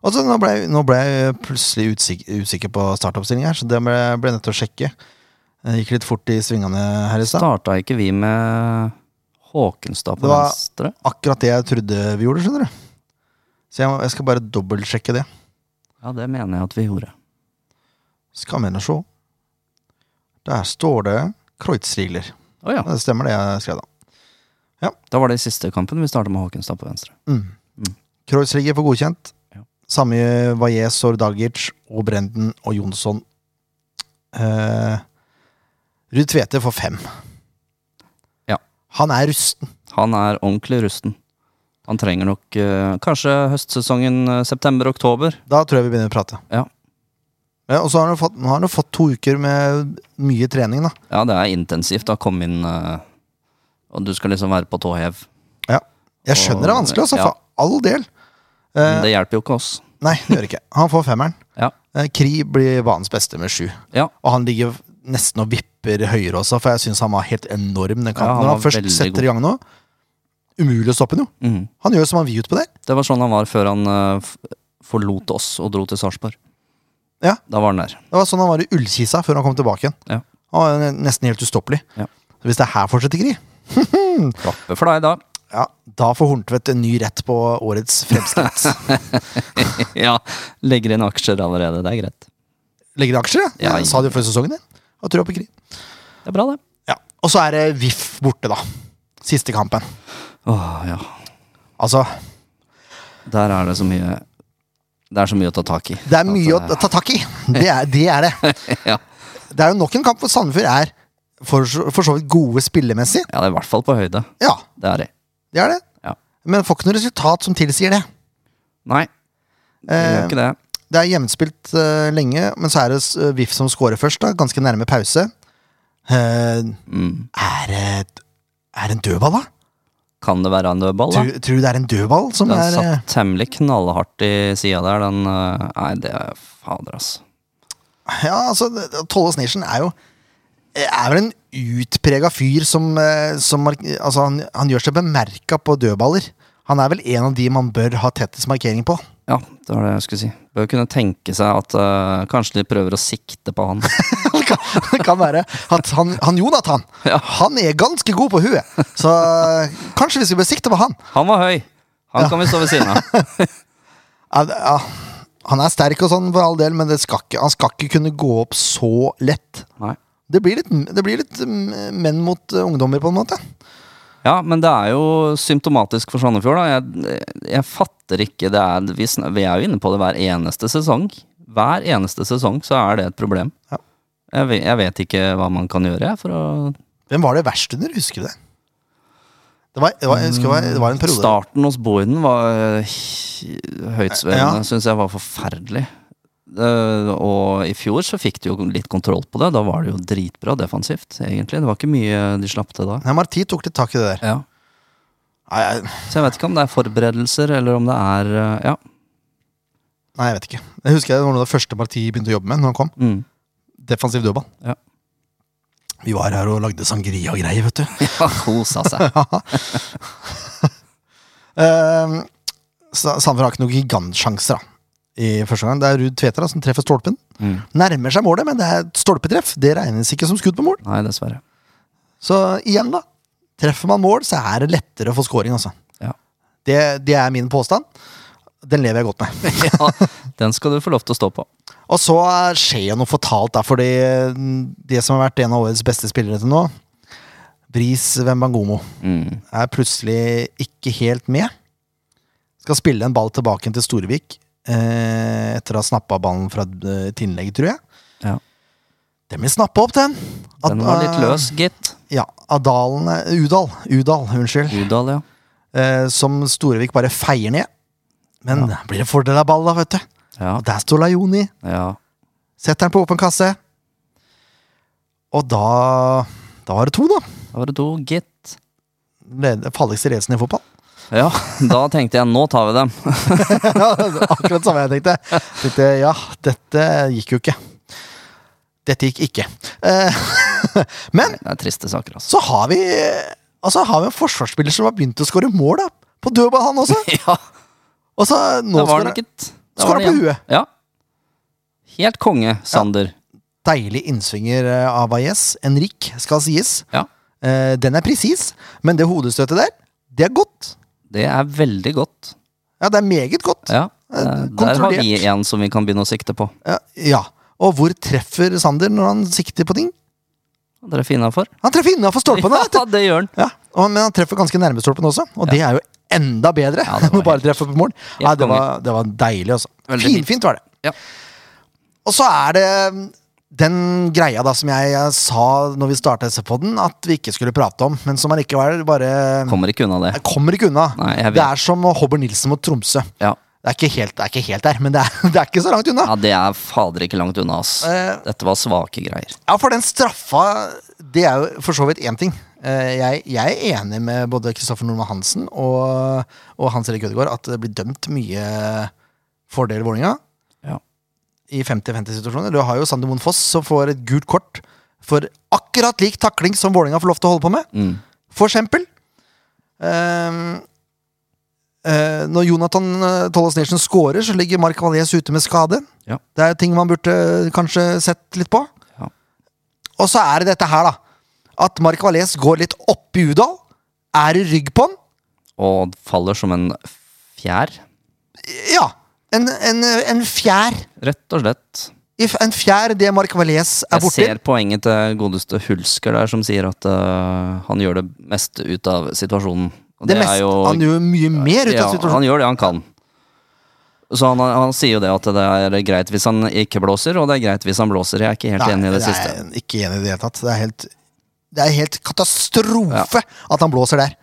S1: Og så nå ble, jeg- nå ble jeg plutselig usikker, usikker på startoppstillinga her, så det ble, ble jeg nødt til å sjekke. Jeg gikk litt fort i svingene her i stad.
S2: Starta ikke vi med Håkenstad på
S1: Det var-
S2: venstre?
S1: Akkurat det jeg trodde vi gjorde, skjønner du. Så jeg, må- jeg skal bare dobbeltsjekke det.
S2: Ja, det mener jeg at vi gjorde.
S1: Skal vi nå se. Der står det Kreutzrigler.
S2: Å ja.
S1: Ja, Det stemmer det jeg skrev, da.
S2: Da var det i siste kampen vi starta med Håkenstad på venstre.
S1: Kreuzrigger får godkjent.
S2: Ja.
S1: Samme gjør Valles, Sordagic og Brenden og Jonsson. Eh, Ruud Tvete får fem.
S2: Ja.
S1: Han er rusten.
S2: Han er ordentlig rusten. Han trenger nok eh, kanskje høstsesongen eh, september-oktober.
S1: Da tror jeg vi begynner å prate.
S2: Ja.
S1: Ja, og så har han jo fått, nå har han jo fått to uker med mye trening, da.
S2: Ja, det er intensivt å komme inn eh, og du skal liksom være på tå hev.
S1: Ja. Jeg skjønner det er vanskelig, altså.
S2: Ja.
S1: For all del. Eh.
S2: Men det hjelper jo ikke oss.
S1: Nei, det gjør det ikke. Han får femmeren.
S2: Ja.
S1: Eh, Kri blir banens beste med sju.
S2: Ja.
S1: Og han ligger nesten og vipper høyere også, for jeg syns han var helt enorm den kampen.
S2: Ja, han
S1: Når
S2: var
S1: han først
S2: veldig
S1: setter
S2: god.
S1: i gang nå, umulig å stoppe han jo.
S2: Mhm.
S1: Han gjør som han vil ut på det.
S2: Det var sånn han var før han eh, f- forlot oss og dro til Sarpsborg.
S1: Ja.
S2: Da var han der.
S1: Det var sånn han var i ullkisa før han kom tilbake igjen.
S2: Ja.
S1: Han var nesten helt ustoppelig.
S2: Ja.
S1: Så hvis det her fortsetter Kri,
S2: Klapper for deg, da.
S1: ja, da får Horntvedt en ny rett på årets fremskritt.
S2: ja. Legger inn aksjer allerede. Det er greit.
S1: Legger i aksjer, ja.
S2: Ja,
S1: Jeg sa det jo før sesongen, jeg. Har trua på Kri.
S2: Det er bra, det.
S1: Ja. Og så er det VIF borte, da. Siste kampen.
S2: Åh, ja.
S1: Altså,
S2: Der er det så mye Det er så mye å ta tak i.
S1: det er mye
S2: At,
S1: å ta tak i. Det er det. Er det.
S2: eh, ja.
S1: det er jo nok en kamp hvor Sandefjord er for, så- for så vidt gode spillemessig.
S2: ja, det er i hvert fall på høyde.
S1: Ja,
S2: Det er det.
S1: det er det.
S2: Ja.
S1: Men får ikke noe resultat som tilsier det. Eh,
S2: Nei, det gjør ikke det.
S1: Det er jevnspilt eh, lenge, men så er det eh, VIF som scorer først, da. Ganske nærme pause. Eh, er, det, er det en dødball, da?
S2: Kan det være en dødball, da?
S1: Tror, tror du det er en dødball som
S2: Den
S1: er eh,
S2: satt temmelig knallhardt i sida der. Den eh, Nei, det er fader, ass.
S1: Ja, altså, det- Tollås Nation er jo er vel en utprega fyr som, eh, som mark- altså, han, han gjør seg bemerka på dødballer. Han er vel en av de man bør ha tettest markering på.
S2: Ja, det var det jeg skulle si. Bør kunne tenke seg at eh, kanskje de prøver å sikte på han.
S1: Det kan, det kan være at han, han Jonathan
S2: Ja.
S1: Han er ganske god på huet, så eh, kanskje vi skal besikte på han.
S2: Han var høy! Han kan vi stå ved siden av.
S1: Ja, det- ja, han er sterk og sånn, for all del, men det skal ikke, han skal ikke kunne gå opp så lett.
S2: Nei.
S1: Det blir litt, det blir litt mm, menn mot eh, ungdommer, på en måte.
S2: Ja, men det er jo symptomatisk for Sandefjord, da. Jeg, jeg fatter ikke det er vi, sn- vi er jo inne på det hver eneste sesong. Hver eneste sesong så er det et problem.
S1: Ja.
S2: Jeg, ve- jeg vet ikke hva man kan gjøre jeg, for å
S1: Hvem var det verst under? Husker du det? Det var, det var, jeg husker det var, det var en periode
S2: Starten hos Boyden var eh, høytsvevende,
S1: Ja.
S2: syns jeg var forferdelig. Eh, og i fjor så fikk de jo litt kontroll på det. Da var det jo dritbra defensivt, egentlig. Det var ikke mye de slapp til da.
S1: Nei, Marti tok litt tak i det der.
S2: Ja.
S1: Nei, jeg,
S2: Så jeg vet ikke om det er forberedelser, eller om det er eh, Ja.
S1: nei, jeg vet ikke. Jeg husker det var noe av det første Marti begynte å jobbe med. Når han kom
S2: Mm.
S1: Defensiv dødball.
S2: Ja.
S1: Vi var her og lagde sangria og greier, vet du.
S2: ja altså. kosa seg.
S1: Eh, Sa- Sandefjord har ikke noen gigantsjanser da, i første gang. Det er Ruud Tveter da, som treffer stolpen.
S2: Mm.
S1: Nærmer seg målet, men det er et stolpetreff. Det regnes ikke som skudd på mål.
S2: Nei, dessverre.
S1: Så igjen, da. Treffer man mål, så er det lettere å få scoring, altså.
S2: Ja.
S1: Det, det er min påstand. Den lever jeg godt med.
S2: ja, den skal du få lov til å stå på.
S1: Og så eh, skjer jo noe fatalt, da, fordi eh, det som har vært en av årets beste spillere til nå, Bris Wembangomo,
S2: Mm.
S1: er plutselig ikke helt med. Skal spille en ball tilbake til Storevik eh, etter å ha snappa ballen fra eh, et innlegg, tror jeg.
S2: Ja.
S1: Den vil snappe opp, den! At-
S2: Den var litt
S1: eh,
S2: løs, gitt.
S1: Ja. Adalen eh, Udal. Udal, unnskyld.
S2: Udal, ja.
S1: Eh, som Storevik bare feier ned. Men blir det fordel av ball, da, vet du.
S2: Ja.
S1: Og der står Lajoni.
S2: ja.
S1: Setter den på åpen kasse. Og da Da var det to, da.
S2: Da var det to, gitt.
S1: Leder- Farligste racen i fotball.
S2: Ja, da tenkte jeg nå tar vi dem.
S1: ja, det var akkurat samme jeg tenkte. tenkte. Ja, dette gikk jo ikke. Dette gikk ikke. Eh, Men
S2: Det er triste saker, altså.
S1: så har vi Altså har vi en forsvarsspiller som har begynt å skåre mål, da. På dødball, han også.
S2: Ja,
S1: Og så nå
S2: da var
S1: skårer
S2: det gitt. Da var
S1: skårer
S2: det
S1: på
S2: igjen.
S1: huet.
S2: Ja. Helt konge, Sander.
S1: Deilig innsvinger eh, av Ayes. Enrik, skal sies.
S2: Ja.
S1: Eh, Den er presis, men det hodestøtet der, det er godt.
S2: Det er veldig godt.
S1: Ja, det er meget godt.
S2: Ja. eh, Der har vi
S1: kontrollert.
S2: en som vi kan begynne å sikte på.
S1: Ja. ja. Og hvor treffer Sander når han sikter på ting?
S2: Dere er fine for.
S1: Han treffer innafor stolpene! vet du.
S2: Ja, det gjør han.
S1: Ja, og, Men han treffer ganske nærme stolpen også, og det er jo enda bedre
S2: Ja, det
S1: enn
S2: var
S1: å bare treffe på mål.
S2: helt
S1: Nei, det, var, det var deilig, altså.
S2: Veldig fint.
S1: Finfint fint var det.
S2: Ja.
S1: Og så er det um, den greia da som jeg eh, sa når vi starta SV-podden, at vi ikke skulle prate om, men som allikevel bare
S2: Kommer ikke unna det.
S1: Jeg kommer ikke unna.
S2: Nei, jeg vet.
S1: det er som Hobber Nilsen mot Tromsø.
S2: Ja.
S1: Det er ikke helt, det er ikke helt der, men det er, det er ikke så langt unna.
S2: ja, det er fader ikke langt unna, ass.
S1: Eh.
S2: Dette var svake greier.
S1: Ja, for den straffa, det er jo for så vidt én ting. Eh, Jeg, jeg er enig med både Kristoffer Nordmann Hansen og, og Hans Erik Ødegaard at det blir dømt mye fordel Vålerenga
S2: Ja.
S1: i 50-50-situasjoner. Du har jo Sander Moen Foss som får et gult kort for akkurat lik takling som Vålerenga får lov til å holde på med.
S2: Mm.
S1: For eksempel. Ehm, eh, når Jonathan uh, Tollas Nation scorer, så ligger Mark Valais ute med skade.
S2: Ja.
S1: Det er ting man burde eh, kanskje sett litt på.
S2: Ja.
S1: Og så er det dette her, da. At Mark Valais går litt opp i Udal. Er i rygg på han.
S2: Og faller som en fjær,
S1: Ja. En, en, en fjær.
S2: rett og slett.
S1: If- En fjær det Mark Valais er
S2: Jeg
S1: borti.
S2: ser poenget til godeste Hulsker der, som sier at eh, han gjør det meste ut av situasjonen. Og
S1: Det mest, han gjør mye mer ut av
S2: Ja,
S1: situasjonen.
S2: han gjør det han kan. Så han, han sier jo det at det er greit hvis han ikke blåser, og det er greit hvis han blåser. Jeg er ikke helt enig i det,
S1: Nei,
S2: siste.
S1: jeg er Ikke enig i det hele tatt. Det er helt, det er helt katastrofe at han blåser der.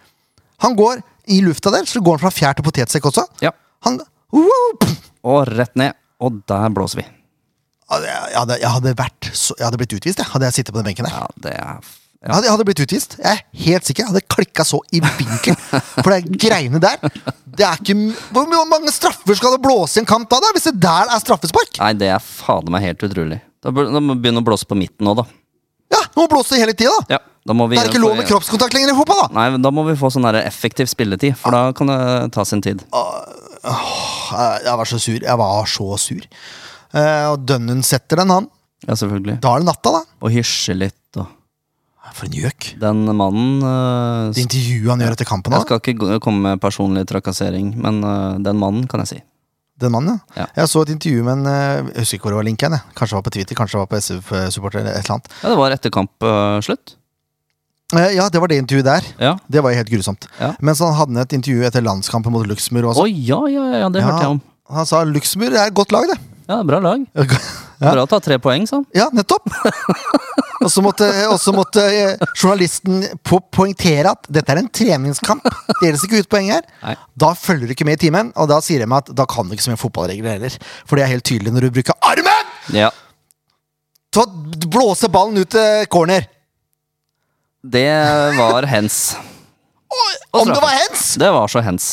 S1: Han går i lufta der, så går han fra fjær til potetsekk også.
S2: Ja,
S1: Han wow, pff,
S2: Og rett ned. og der blåser vi.
S1: Ja, det- Jeg hadde, jeg hadde, vært, så, jeg hadde blitt utvist, jeg, hadde jeg sittet på den benken der.
S2: Ja, det er
S1: Jeg
S2: ja.
S1: hadde, jeg hadde blitt utvist. Jeg er helt sikker. Jeg hadde klikka så i vinkel. For det greiene der det er ikke, m- Hvor mange straffer skal det blåse i en kamp da, da? Hvis det der er straffespark?
S2: Nei, det er fader meg helt utrolig. Da bør- da må vi begynne å blåse på midten nå, da.
S1: Ja, Nå blåser det hele tida, da!
S2: Ja, da må vi
S1: Det er ikke lov med kroppskontakt lenger i fotball, da!
S2: Nei, men da må vi få sånn der effektiv spilletid, for da kan det ta sin tid.
S1: Eh, Jeg- Jeg var så sur. Jeg var så sur. Eh, og Dønnen setter den, han.
S2: Ja, selvfølgelig.
S1: Da er det natta, da.
S2: Og hysje litt og
S1: For en gjøk.
S2: Den mannen eh,
S1: Det intervjuet han gjør etter kampen,
S2: Jeg
S1: da.
S2: skal ikke gå- komme med personlig trakassering, men øh, den mannen kan jeg si.
S1: Den mannen, ja.
S2: Ja.
S1: Jeg så et intervju med en eh, Jeg husker ikke hvor det var linken. Jeg. Kanskje det var på Twitter, kanskje det var på SF-supporter eller et eller annet.
S2: Ja, det var etter kamp øh, slutt.
S1: Eh, ja, det var det intervjuet der.
S2: Ja.
S1: Det var jo helt grusomt.
S2: Ja.
S1: Mens han hadde et intervju etter landskampen mot Luxembourg.
S2: Å
S1: Også.
S2: ja, ja, ja, ja, det
S1: Altså- Ja.
S2: hørte jeg om.
S1: Han sa Luxembourg er et godt lag, det.
S2: Ja, bra lag.
S1: Ja.
S2: Bra å ta tre poeng, sa han.
S1: Ja, nettopp! Og så måtte, og så måtte eh, journalisten po poengtere at dette er en treningskamp. Det gjelder ikke ut poeng her.
S2: Nei.
S1: Da følger du ikke med i timen, og da sier jeg meg at da kan du ikke så mye fotballregler heller. For det er helt tydelig når du bruker armen
S2: Ja.
S1: til å blåse ballen ut til corner.
S2: Det var hens. Og
S1: Om det
S2: straffe.
S1: var hands!
S2: Det var så hens.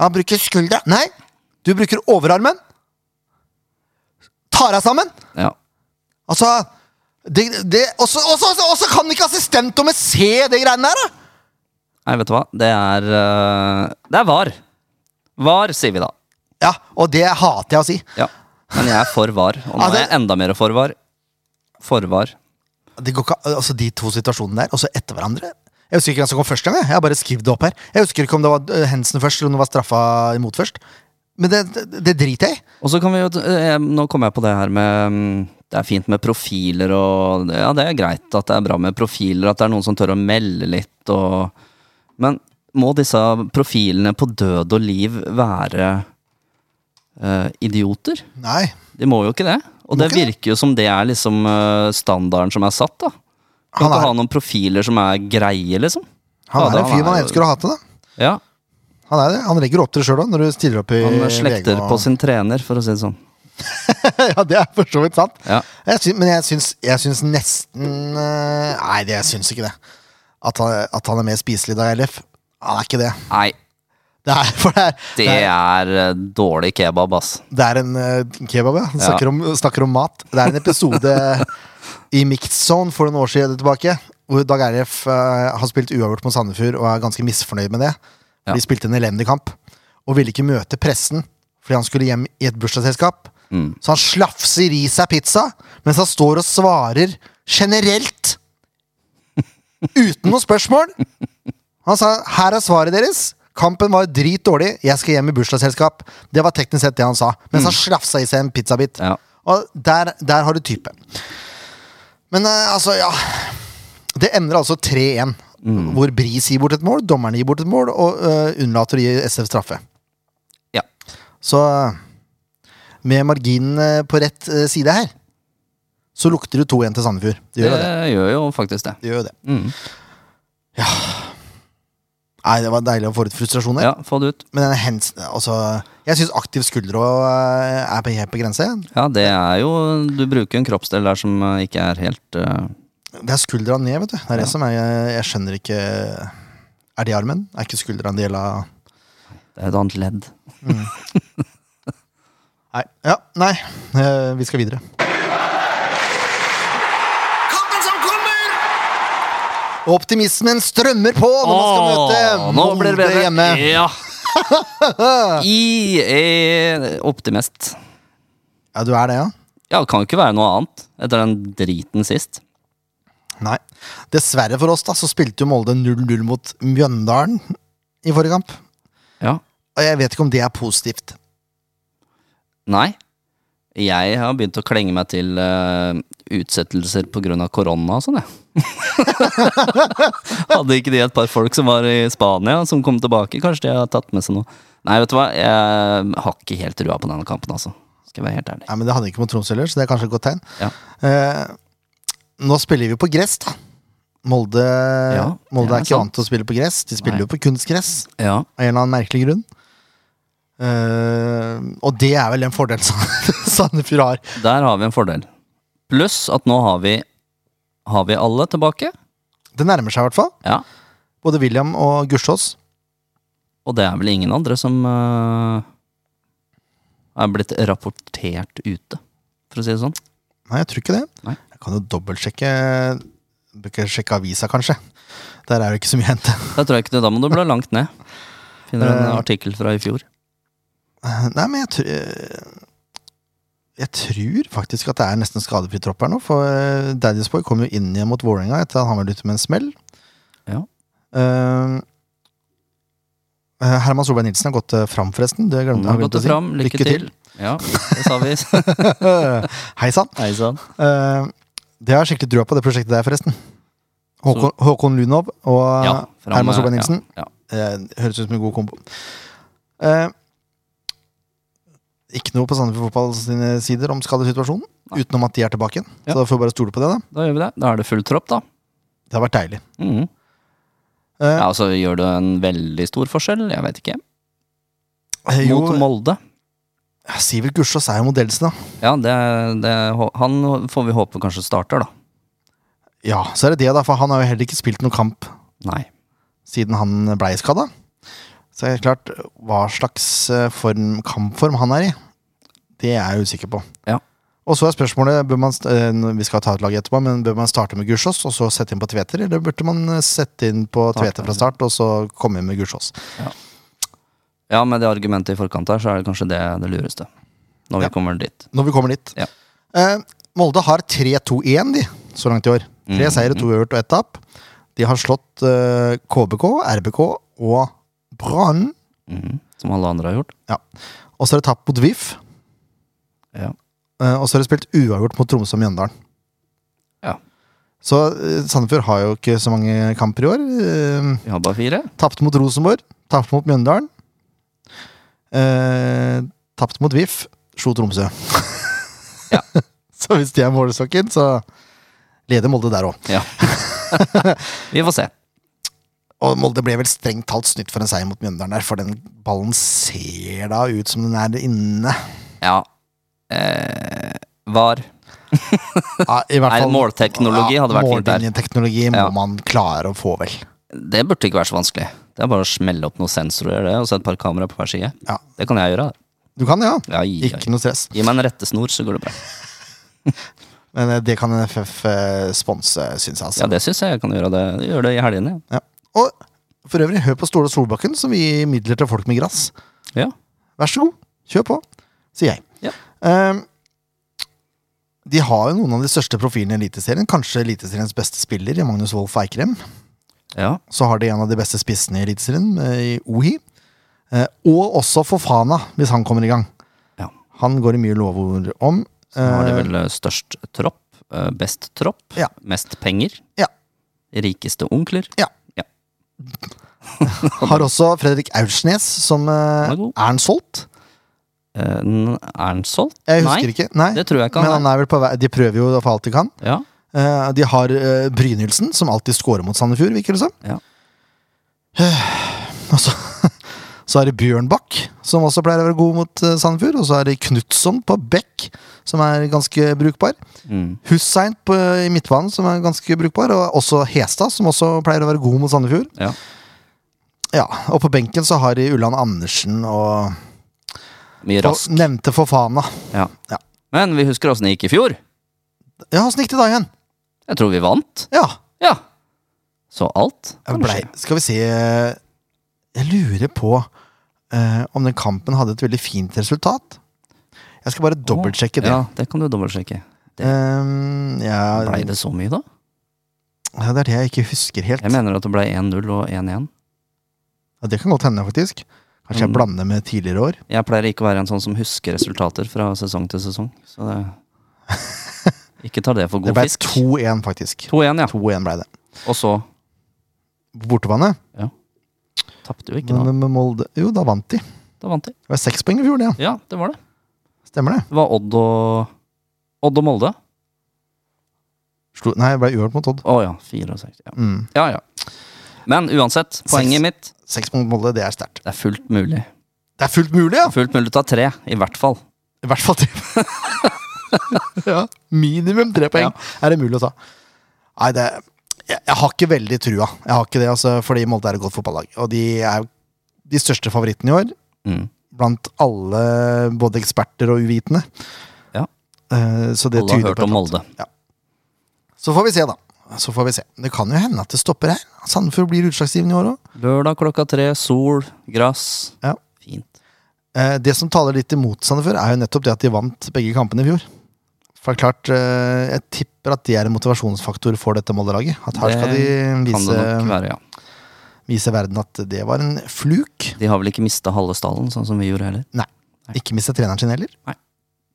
S1: Han bruker skuldra. Nei, du bruker overarmen. Tar deg sammen.
S2: Ja.
S1: Altså det, det, også, også, også, også kan ikke assistentdommer se det greiene der, da!
S2: Nei, vet du hva. Det er øh, Det er var. Var, sier vi da.
S1: Ja, og det hater jeg å si.
S2: Ja. Men jeg er for var. Og nå
S1: Ja,
S2: er
S1: det-
S2: jeg enda mer for var. For var.
S1: Det går ikke, altså De to situasjonene der, og så etter hverandre. Jeg husker ikke hvem som kom først. gang, Jeg Jeg har bare skrevet det opp her. Jeg husker ikke om det var eh, Hensen først, eller om det var straffa imot først. Men det, det, det driter jeg i.
S2: Og så kan vi jo eh, Nå kom jeg på det her med mm, Det er fint med profiler og Ja, det er greit at det er bra med profiler, at det er noen som tør å melde litt og Men må disse profilene på død og liv være eh, idioter?
S1: Nei.
S2: De må jo ikke det. Og
S1: Må
S2: det
S1: ikke
S2: virker jo som det er liksom eh, standarden som er satt, da. Kan
S1: Han
S2: ikke
S1: er-
S2: ha noen profiler som er greie, liksom.
S1: Han
S2: Ja,
S1: er
S2: da,
S1: en fyr man
S2: jo-
S1: elsker å hate, da.
S2: Ja,
S1: Han er det. Han legger opp til det sjøl òg, når du stiller opp i
S2: han
S1: VG
S2: slekter
S1: og-
S2: på sin trener, for å si det sånn.
S1: Ja, det er for så vidt sant.
S2: Ja.
S1: Jeg sy men jeg syns, jeg syns nesten eh, Nei, det, jeg syns ikke det. At han, at han er mer spiselig da i LF. Han er ikke det.
S2: Nei,
S1: Det er, for det er,
S2: det er eh, dårlig kebab, ass.
S1: det er en eh, kebab, ja. Han
S2: Ja.
S1: Snakker, om, snakker om mat. Det er en episode i Mixed Zone for noen år siden tilbake, hvor Dag Erlef eh, har spilt uavgjort mot Sandefjord og er ganske misfornøyd med det.
S2: Ja.
S1: De spilte en elendig kamp og ville ikke møte pressen fordi han skulle hjem i et bursdagsselskap. Så han slafser i seg pizza mens han står og svarer generelt. Uten noe spørsmål. Han sa her er svaret deres. Kampen var dritdårlig. Jeg skal hjem i bursdagsselskap. Det var teknisk sett det han sa. Mens han slafsa i seg en pizzabit.
S2: Mm. Ja.
S1: Og der, der har du type. Men eh, altså, ja. Det ender altså 3-1.
S2: Mm.
S1: Hvor Bris gir bort et mål, dommerne gir bort et mål, og eh, unnlater å gi SF straffe.
S2: Ja.
S1: Så eh, med marginene på rett eh, side her, så lukter det 2-1 til Sandefjord. Det
S2: Det
S1: gjør jo det.
S2: gjør jo faktisk det.
S1: det, gjør jo det.
S2: Mm.
S1: Nei, det var deilig å få ut frustrasjon der.
S2: Ja, få det ut.
S1: Men den hens, altså, jeg syns aktiv skulder også, eh, er på, helt på grense.
S2: Ja, det er jo Du bruker en kroppsdel der som eh, ikke er helt eh,
S1: Det er skuldra ned, vet du. Det er
S2: Ja.
S1: det som er Jeg, jeg skjønner ikke Er det armen? Er ikke skuldra en del av
S2: Det er et annet ledd.
S1: Nei. Ja, nei. Eh, vi skal videre.
S3: Kampen som kommer!
S1: Og optimismen strømmer på når man skal møte
S2: Åh, nå blir det bedre.
S1: hjemme.
S2: Ja. I er optimist.
S1: Ja, du er det, ja?
S2: Ja, det kan jo ikke være noe annet etter den driten sist.
S1: Nei. Dessverre for oss, da, så spilte jo Molde 0-0 mot Mjøndalen i forrige kamp.
S2: Ja.
S1: Og jeg vet ikke om det er positivt.
S2: Nei. Jeg har begynt å klenge meg til eh, utsettelser pga. korona og sånn, jeg. Hadde ikke de et par folk som var i Spania, som kom tilbake? Kanskje de har tatt med seg noe? Nei, vet du hva, jeg har ikke helt trua på denne kampen, altså. Skal jeg være helt ærlig.
S1: Nei, men Det hadde ikke mot Tromsø heller, så det er kanskje et godt tegn.
S2: Ja.
S1: Eh, nå spiller vi på gress, da. Molde, Molde
S2: det
S1: er
S2: er
S1: ikke
S2: sant.
S1: vant til å spille på gress. De spiller
S2: Nei.
S1: jo på kunstgress
S2: Ja.
S1: av en eller annen merkelig grunn. Eh, og det er vel en fordel som Sandefjord har.
S2: Der har vi en fordel. Pluss at nå har vi Har vi alle tilbake.
S1: Det nærmer seg i hvert fall.
S2: Ja.
S1: Både William og Gussiås.
S2: Og det er vel ingen andre som eh, er blitt rapportert ute, for å si det sånn.
S1: Nei, jeg tror ikke det.
S2: Nei.
S1: Jeg kan jo dobbeltsjekke Bør ikke sjekke avisa, kanskje. Der er det ikke så mye å hente.
S2: Da tror jeg ikke det. Da må du bla langt ned. Finner en
S1: Eh.
S2: artikkel fra i fjor.
S1: Nei, men jeg tror Jeg tror faktisk at det er nesten skadefri tropp her nå. For eh, Daddy's Boy kom jo inn igjen mot Vålerenga etter at han var ute med en smell.
S2: Ja.
S1: Eh, eh, Herman Solberg Nilsen har gått eh, fram, forresten. Det glemte
S2: Nå har
S1: jeg å
S2: gått det
S1: si.
S2: fram. Lykke, til. Ja, det sa vi.
S1: Hei sann.
S2: Hei sann.
S1: Eh, det har jeg skikkelig trua på, det prosjektet der, forresten. Håkon, Håkon Lunov og eh,
S2: Ja, fram
S1: Ah, Herman
S2: med-
S1: Solberg Nilsen.
S2: Ja, ja.
S1: Eh, høres ut som en god kombo. Eh, ikke noe på Sandefjord Fotball sine sider om skadesituasjonen, utenom at de er tilbake igjen.
S2: Ja.
S1: Så da får vi bare stole på det, da.
S2: Da gjør vi det. Da er det full tropp, da.
S1: Det har vært deilig.
S2: Mhm.
S1: Eh,
S2: Ja, altså Gjør det en veldig stor forskjell? Jeg vet ikke.
S1: eh, jo,
S2: Mot Molde.
S1: Sivert Gussiås er jo modelsen, da.
S2: Ja, det, det, han får vi håpe kanskje starter, da.
S1: Ja, så er det det, da, for han har jo heller ikke spilt noen kamp
S2: Nei.
S1: siden han blei skada. Så er det klart, hva slags eh, form, kampform han er i, det er jeg usikker på.
S2: Ja.
S1: Og så er spørsmålet, bør man, st- eh, nå- vi skal ta ut laget etterpå, men bør man starte med Gursås og så sette inn på Tveter, eller burde man eh, sette inn på
S2: Starte
S1: Tveter
S2: med-
S1: fra start og så komme inn med Gursås?
S2: Ja, med det argumentet i forkant her, så er det kanskje det det lureste. Når vi
S1: Ja.
S2: kommer dit.
S1: Når vi kommer dit.
S2: Ja.
S1: Eh, Molde har 3-2-1 de, så langt i år. Tre
S2: Mhm.
S1: seire, to øvert og ett tap. De har slått eh, KBK, RBK og Brann.
S2: Mhm. Som alle andre har gjort.
S1: Og så er det tapt mot VIF.
S2: Ja.
S1: Eh, og så er det spilt uavgjort mot Tromsø og Mjøndalen.
S2: Ja.
S1: Så eh, Sandefjord har jo ikke så mange kamper i år. Uh,
S2: Vi har bare fire.
S1: Tapt mot Rosenborg, tapt mot Mjøndalen. Uh, tapt mot VIF, slo Tromsø.
S2: Ja.
S1: så hvis de er målestokken, så leder Molde der òg.
S2: Ja. vi får se.
S1: Og Molde ble vel strengt talt snytt for en seier mot Mjøndalen der, for den ballen ser da ut som den er inne.
S2: Ja. Eh, var.
S1: Ja, i hvert
S2: Nei, målteknologi hadde vært fint der.
S1: Mållinjeteknologi må
S2: Ja.
S1: man klare å få, vel.
S2: Det burde ikke være så vanskelig. Det er bare å smelle opp noen sensorer det, og så et par kameraer på hver side.
S1: Ja.
S2: Det kan jeg gjøre. da.
S1: Du kan det, ja.
S2: Ja, gi,
S1: Ikke noe stress.
S2: gi meg en rettesnor, så går det bra.
S1: Men eh, det kan NFF eh, sponse, syns jeg.
S2: Ja,
S1: Altså.
S2: det syns jeg jeg kan gjøre. det Gjør det i helgene.
S1: Ja. Og for øvrig, hør på Ståle Solbakken, som gir midler til folk med gress.
S2: Ja.
S1: Vær så god, kjør på, sier jeg.
S2: Ja.
S1: Eh, de har jo noen av de største profilene i Eliteserien. Kanskje Eliteseriens beste spiller, i Magnus Wolff Eikrem.
S2: ja.
S1: Så har de en av de beste spissene i Eliteserien, eh, i Ohi. Eh, Og også Fofana, hvis han kommer i gang.
S2: Ja.
S1: Han går det mye lovord om.
S2: Så har de
S1: Eh,
S2: vel eh, størst tropp, eh, best tropp,
S1: Ja.
S2: mest penger,
S1: Ja.
S2: rikeste onkler.
S1: Eh, Har også Fredrik Aursnes, som eh,
S2: Han er
S1: er
S2: god.
S1: han solgt?
S2: Eh, n- Er han solgt?
S1: Jeg husker ikke. Nei,
S2: det tror jeg ikke
S1: men
S2: han
S1: han
S2: er.
S1: er vel på vei. De prøver jo for alt de kan.
S2: Ja.
S1: Eh, de har eh, Brynildsen, som alltid scorer mot Sandefjord, virker det som.
S2: Ja.
S1: Eh, og så, så er det Bjørnbakk, som også pleier å være god mot eh, Sandefjord. Og så er det Knutson på Beck, som er ganske brukbar.
S2: Mm.
S1: Hussein på, i midtbanen, som er ganske brukbar. Og også Hestad, som også pleier å være god mot Sandefjord.
S2: Ja.
S1: Ja, Og på benken så har de Ulland Andersen og
S2: Mye rask.
S1: Og nevnte Fofana.
S2: Ja.
S1: Ja.
S2: Men vi husker åssen det gikk i fjor.
S1: Ja, åssen gikk det da igjen?
S2: Jeg tror vi vant.
S1: Ja,
S2: Ja. Så alt
S1: jeg
S2: kan
S1: blei,
S2: skje.
S1: Skal vi se eh, Jeg lurer på eh, om den kampen hadde et veldig fint resultat. Jeg skal bare dobbeltsjekke det.
S2: Ja, det kan du dobbeltsjekke.
S1: Ehm, ja,
S2: Blei
S1: ja,
S2: det så mye, da?
S1: det er det jeg ikke husker helt.
S2: Jeg mener at det blei 1-0 og 1-1.
S1: Ja, det kan godt hende, faktisk. Kanskje jeg
S2: Mm.
S1: blander med tidligere år.
S2: Jeg pleier ikke å være en sånn som husker resultater fra sesong til sesong. Så det Ikke ta det for
S1: Det
S2: god
S1: ble
S2: fisk.
S1: 2-1, faktisk.
S2: 2-1, ja.
S1: 2-1 ble det.
S2: Og så
S1: På bortebane.
S2: tapte jo ikke,
S1: Men
S2: da.
S1: med Molde Jo, da vant de.
S2: Da vant de.
S1: Det var seks poeng i fjor, det. Ja.
S2: Ja, det var det.
S1: Stemmer det.
S2: Det var Odd og Odd og Molde.
S1: Slo, nei, det ble uavgjort mot Odd.
S2: Å ja. 64. Ja.
S1: Mm.
S2: ja ja. Men uansett, poenget mitt
S1: Seks poeng mot Molde, det er sterkt.
S2: Det er fullt mulig
S1: Det er fullt mulig, ja!
S2: Fullt mulig å ta tre, i hvert fall.
S1: I hvert fall tre. ja, minimum tre poeng er det mulig å ta. Nei, det jeg, jeg har ikke veldig trua. Jeg har ikke det, altså, fordi Molde er et godt fotballag. Og de er jo de største favorittene i år.
S2: Mm.
S1: Blant alle, både eksperter og uvitende.
S2: Ja.
S1: Eh, så det
S2: Alle har
S1: tyder
S2: hørt
S1: på et
S2: om
S1: eller annet.
S2: Molde.
S1: Så får vi se, da. Så får vi se. Det kan jo hende at det stopper her. Sandefjord blir utslagsgivende i år òg.
S2: Lørdag klokka tre, sol, gress.
S1: Ja.
S2: Fint.
S1: Eh, Det som taler litt imot Sandefjord, er jo nettopp det at de vant begge kampene i fjor. For klart, eh, Jeg tipper at de er en motivasjonsfaktor for dette Molde-laget. At her
S2: Det
S1: skal de
S2: Kan det nok
S1: vise,
S2: være, ja.
S1: vise verden at det var en fluk.
S2: De har vel ikke mista halve stallen, sånn som vi gjorde heller. Nei.
S1: Ikke miste treneren sin heller.
S2: Nei.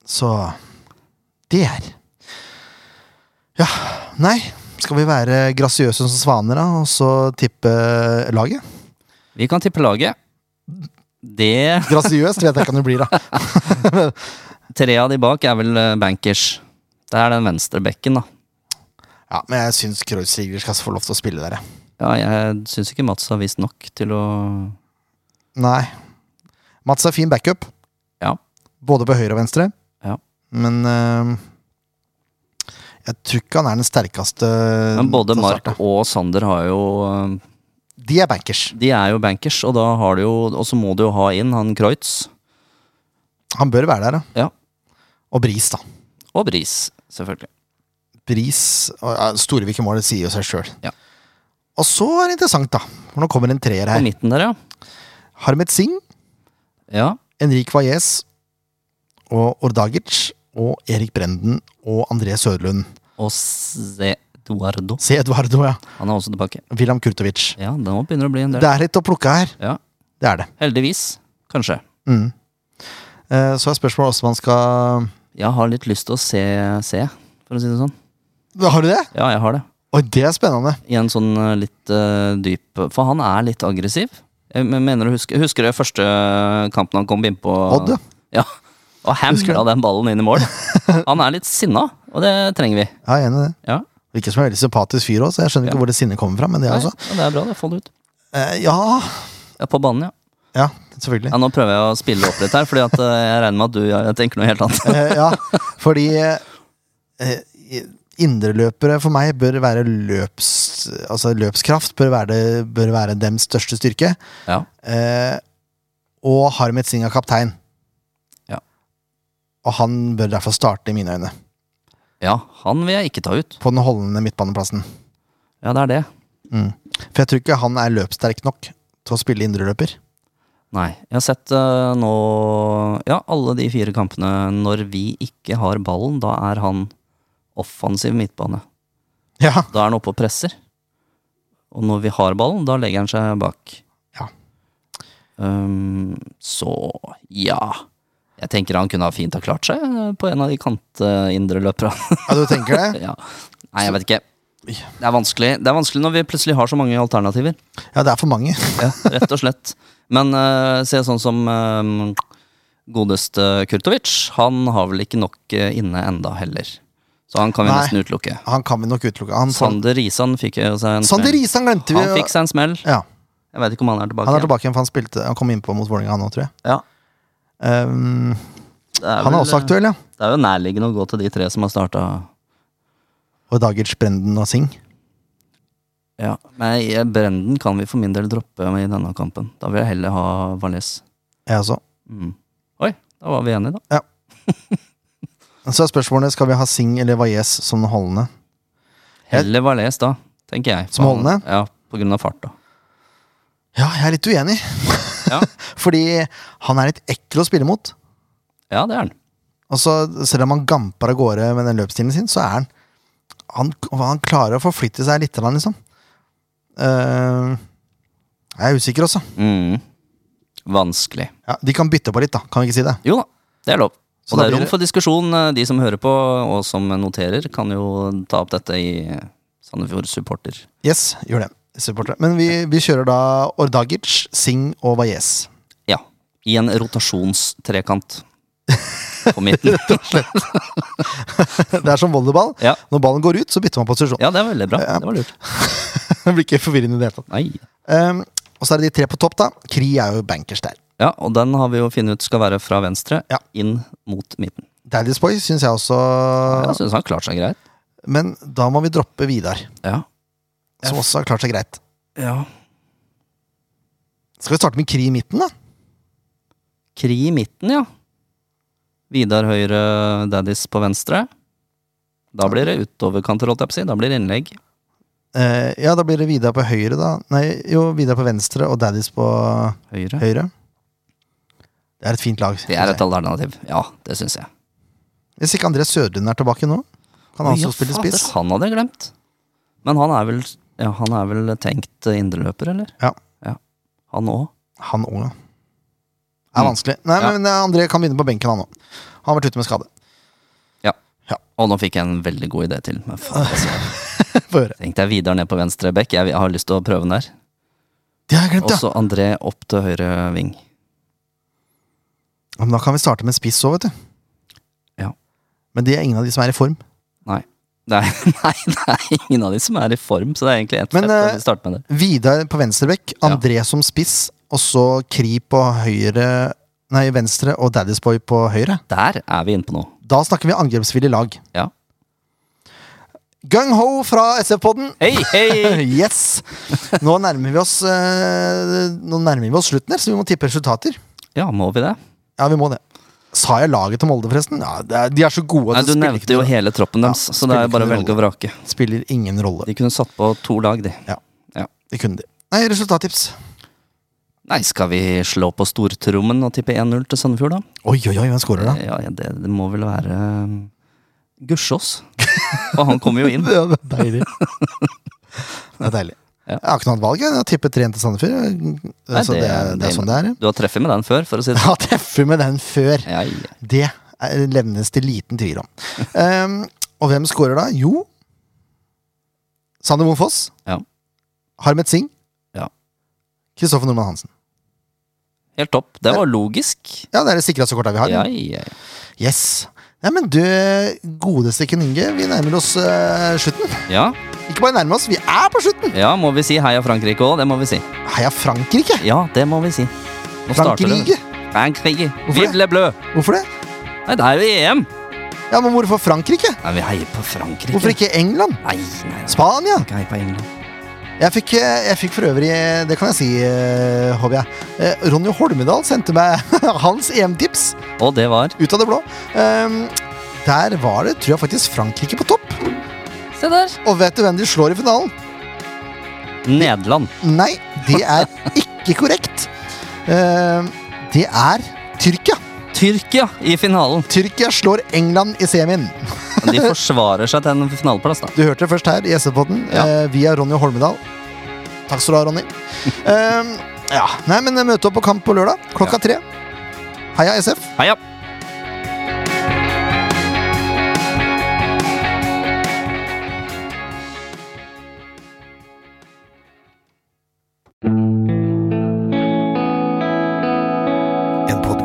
S1: Så det er Ja, nei. Skal vi være grasiøse som svaner, da, og så tippe laget?
S2: Vi kan tippe laget. Det
S1: Grasiøst vet jeg ikke om det blir, da.
S2: Tre av de bak er vel eh, bankers. Det er den venstre bekken, da.
S1: Ja, Men jeg syns Kreutz Sigurd skal få lov til å spille der, jeg.
S2: Ja, jeg syns ikke Mats har vist nok til å
S1: Nei. Mats er fin backup.
S2: Ja.
S1: Både på høyre og venstre.
S2: Ja.
S1: Men eh, jeg tror ikke han er den sterkeste.
S2: Men både
S1: til å
S2: Mark
S1: starte.
S2: og Sander har jo eh,
S1: De er bankers.
S2: De er jo bankers, og da har du jo Og så må du jo ha inn han Kreutz
S1: Han bør være der,
S2: Ja.
S1: Og Bris, da.
S2: og Bris, selvfølgelig.
S1: Bris og, ja, Storevik i mål, det sier jo seg sjøl.
S2: Ja.
S1: Og så er det interessant, da. For nå kommer en treer
S2: På
S1: her.
S2: midten der, ja.
S1: Harmet Singh,
S2: Ja,
S1: Henrik Valles og Ordagic og Erik Brenden og André Søderlund.
S2: Og Se Eduardo.
S1: Se Eduardo, ja.
S2: Han er også tilbake.
S1: William Kurtovic.
S2: Ja, nå begynner det å bli en del.
S1: Det er litt å plukke her.
S2: Ja.
S1: Det er det.
S2: Heldigvis, kanskje.
S1: Mm. Eh, Så er spørsmålet også om man skal
S2: Jeg har litt lyst til å se, se, for å si det sånn.
S1: Har du det?
S2: Ja, jeg har det.
S1: Oi, det er spennende.
S2: I en sånn eh, litt eh, dyp For han er litt aggressiv. Jeg men- mener å huske Husker du første kampen han kom innpå?
S1: Odd, ja.
S2: ja. Og hamra den ballen inn i mål. Han er litt sinna, og det trenger vi.
S1: Ja, jeg er enig i det.
S2: Ja,
S1: Virker som en veldig sympatisk fyr òg, så jeg skjønner
S2: Ja.
S1: ikke hvor det sinnet kommer fra. Men det er
S2: Nei,
S1: også
S2: ja, det er bra, det. Få det ut.
S1: eh, Ja.
S2: Ja, på banen, ja.
S1: Ja, selvfølgelig.
S2: ja. Nå prøver jeg å spille opp litt her, Fordi at eh, jeg regner med at du jeg tenker noe helt annet.
S1: Eh, ja, fordi eh, indreløpere for meg bør være løps... Altså løpskraft bør være, det, bør være dems største styrke.
S2: Ja,
S1: Eh, og Harmet Singh er kaptein.
S2: Ja.
S1: Og han bør derfor starte, i mine øyne,
S2: ja han vil jeg ikke ta ut.
S1: på den holdende midtbaneplassen.
S2: Ja, det er det.
S1: Mm. For jeg tror ikke han er løpssterk nok til å spille indreløper.
S2: Nei. Jeg har sett eh, nå Ja, alle de fire kampene når vi ikke har ballen, da er han offensiv midtbane.
S1: Ja.
S2: Da er han oppe og presser. Og når vi har ballen, da legger han seg bak.
S1: Ja.
S2: Ehm, så ja. Jeg tenker han kunne ha fint ha klart seg eh, på en av de kantindreløperne.
S1: ja, du tenker det?
S2: ja. Nei, jeg vet ikke. Det er, vanskelig. det er vanskelig når vi plutselig har så mange alternativer.
S1: Ja, det er for mange.
S2: Ja, rett og slett. Men eh, se sånn som eh, godeste Kurtovic. Han har vel ikke nok eh, inne enda heller. Så han kan vi
S1: Nei.
S2: nesten utelukke.
S1: Han kan vi nok utelukke. Han,
S2: Sander Risan fikk jo seg en
S1: Sander
S2: smell.
S1: Risan glemte vi.
S2: Han fikk seg en smell.
S1: Ja,
S2: Jeg vet ikke om han er tilbake.
S1: han er tilbake igjen, for han spilte Han kom innpå mot Vålerenga, han òg, tror jeg.
S2: igjen. Ja.
S1: Ehm,
S2: Det er
S1: han er
S2: vel, eh,
S1: også aktuell, ja.
S2: Det er jo nærliggende å gå til de tre som har starta.
S1: Og Dagic, Brenden og Singh.
S2: Ja. Men eh, Brenden kan vi for min del droppe i denne kampen. Da vil jeg heller ha Valais.
S1: Jeg også.
S2: Mm. Oi, da var vi enige, da.
S1: Så er spørsmålet skal vi ha Singh eller Valles som den holdende.
S2: Heller Valais da, tenker jeg.
S1: Som holdende?
S2: Ja, på grunn av farta.
S1: Ja, jeg er litt uenig.
S2: Ja.
S1: Fordi han er litt ekkel å spille mot.
S2: Ja, det er han.
S1: Altså, selv om han gamper av gårde med den løpsstilen sin, så er han Han, han klarer å forflytte seg litt, grann, liksom. Eh, jeg er usikker også.
S2: Mm. Vanskelig.
S1: Ja, de kan bytte på litt, da. Kan vi ikke si det?
S2: Jo da, det er lov.
S1: Så
S2: Og
S1: da
S2: det er
S1: blir
S2: rom
S1: det-
S2: for diskusjon. eh, De som hører på og som noterer, kan jo ta opp dette i eh, Sandefjord Supporter.
S1: Yes, gjør det. Supportere. Men vi, vi kjører da Ordagic, Singh og Valles.
S2: Ja. I en rotasjonstrekant på midten.
S1: Det er som volleyball.
S2: Ja.
S1: Når ballen går ut, så bytter man posisjon.
S2: ja, det er veldig bra. Det var lurt.
S1: Det blir ikke forvirrende i det hele tatt. Eh,
S2: Nei.
S1: Um, og så er det de tre på topp, da. Kri er jo bankers der.
S2: Ja, og den har vi jo funnet ut skal være fra venstre
S1: Ja.
S2: inn mot midten.
S1: Daddy's Boy syns jeg også.
S2: Jeg syns han klarte seg greit.
S1: Men da må vi droppe Vidar,
S2: Ja.
S1: som også har klart seg greit.
S2: ja.
S1: Skal vi starte med Kri i midten, da?
S2: Kri i midten, ja. Vidar høyre, Daddies på venstre. Da blir det utoverkanter, holdt jeg på å si. Da blir det innlegg.
S1: Eh, ja, da blir det Vidar på høyre, da. Nei, jo, Vidar på venstre og Daddies på
S2: Høyre.
S1: høyre. Det er et fint lag.
S2: Det
S1: synes
S2: er
S1: jeg.
S2: et alternativ. Ja, det syns jeg.
S1: Hvis ikke André Sødlund er tilbake nå, kan han
S2: Å, ja,
S1: også spille
S2: fader,
S1: spiss.
S2: Han hadde jeg glemt. Men han er vel, ja, han er vel tenkt eh, indreløper, eller?
S1: Ja.
S2: Han òg.
S1: Han òg, ja. Det er
S2: Mm.
S1: vanskelig. Nei,
S2: Ja.
S1: men eh, André kan begynne på benken, han òg. Han har vært ute med skade.
S2: Og nå fikk jeg en veldig god idé til. Men faen, altså,
S1: Få høre.
S2: tenkte jeg Vidar ned på venstre bekk. Jeg, jeg har lyst til å prøve den der.
S1: Det har jeg glemt,
S2: Og
S1: ja!
S2: så André opp til høyre ving.
S1: Men da kan vi starte med en spiss òg, vet du.
S2: Ja.
S1: Men det er ingen av de som er i form.
S2: Nei. Nei, nei, det er ingen av de som er i form, så det er egentlig ett
S1: Men,
S2: fett at
S1: eh,
S2: vi starter med det.
S1: Vidar på venstrebekk, André som spiss, og så Kri på høyre Nei, venstre og Daddy's Boy på høyre.
S2: Der er vi inne på noe.
S1: Da snakker vi angrepsvillig lag.
S2: Ja.
S1: Gung-ho fra SF-podden!
S2: Hei, hei!
S1: Yes! Nå nærmer, vi oss, eh, nå nærmer vi oss slutten her, så vi må tippe resultater.
S2: Ja, må vi det?
S1: Ja, vi må det. Sa jeg laget til Molde, forresten? Ja, det er, De er så gode
S2: Nei,
S1: at
S2: du
S1: det spiller,
S2: nevnte jo
S1: ikke,
S2: hele troppen deres,
S1: Ja,
S2: så det er jo
S1: spiller
S2: bare å
S1: ikke
S2: velge og vrake.
S1: noe- spiller ingen rolle.
S2: De kunne satt på to lag, de.
S1: Det kunne de. Nei, resultattips.
S2: Nei, skal vi slå på stortrommen og tippe 1-0 til Sandefjord, da?
S1: Oi, oi, oi, hvem scorer da?
S2: Ja, ja, det, det må vel være um, Gussiås. For han kommer jo inn.
S1: Ja, det er deilig. Det er deilig.
S2: Ja.
S1: Jeg har ikke noe annet valg. jeg. Jeg har tippet 3-1 til Sandefjord. Altså,
S2: det-
S1: det, er- det er sånn det er.
S2: Du har treffet med den før, for å si det
S1: Jeg
S2: sånn.
S1: har treffet med den før.
S2: Ja, ja.
S1: Det er- levnes til liten tvil om. Ehm, og hvem scorer da? Jo Sander Moen Foss.
S2: Ja.
S1: Harmet Singh.
S2: Ja.
S1: Kristoffer Nordmann Hansen.
S2: Helt topp. Det var logisk.
S1: Ja, det er det sikreste kortet vi har.
S2: Ja, ja.
S1: Yes. Nei, men du, godeste Ken Inge, vi nærmer oss eh, slutten.
S2: ja,
S1: Ikke bare nærmer oss, vi er på slutten!
S2: ja, må vi si heia Frankrike òg? Det må vi si.
S1: Heia Frankrike!
S2: Ja, det må vi si. Nå starter
S1: Frankrike!
S2: det. Frankrike.
S1: Hvorfor det?
S2: Vive le bleu!
S1: Hvorfor det?
S2: Nei, det er jo EM!
S1: Ja, Men hvorfor Frankrike?
S2: Nei, vi heier på Frankrike.
S1: Hvorfor ikke England?
S2: Nei, nei, nei.
S1: Spania?
S2: Ikke heie på England.
S1: Jeg fikk, eh, jeg fikk for øvrig, det kan jeg si, eh, håper jeg. Eh, Ronny Holmedal sendte meg hans EM-tips
S2: Og det
S1: ut
S2: var
S1: av det blå. Ehm, der var det, tror jeg faktisk, Frankrike på topp.
S2: Se der!
S1: Og vet du hvem de slår i finalen?
S2: Nederland.
S1: Nei, det er ikke korrekt. Ehm, det er Tyrkia.
S2: Tyrkia i finalen.
S1: Tyrkia slår England i semien.
S2: Men De forsvarer seg til en finaleplass, da.
S1: Du hørte det først her i SV-podden
S2: Ja.
S1: eh, via Ronny Holmedal. Takk skal du ha, Ronny. Ehm, ja, nei, men Møte opp på kamp på lørdag klokka tre. Heia SF.
S2: Heia!
S1: En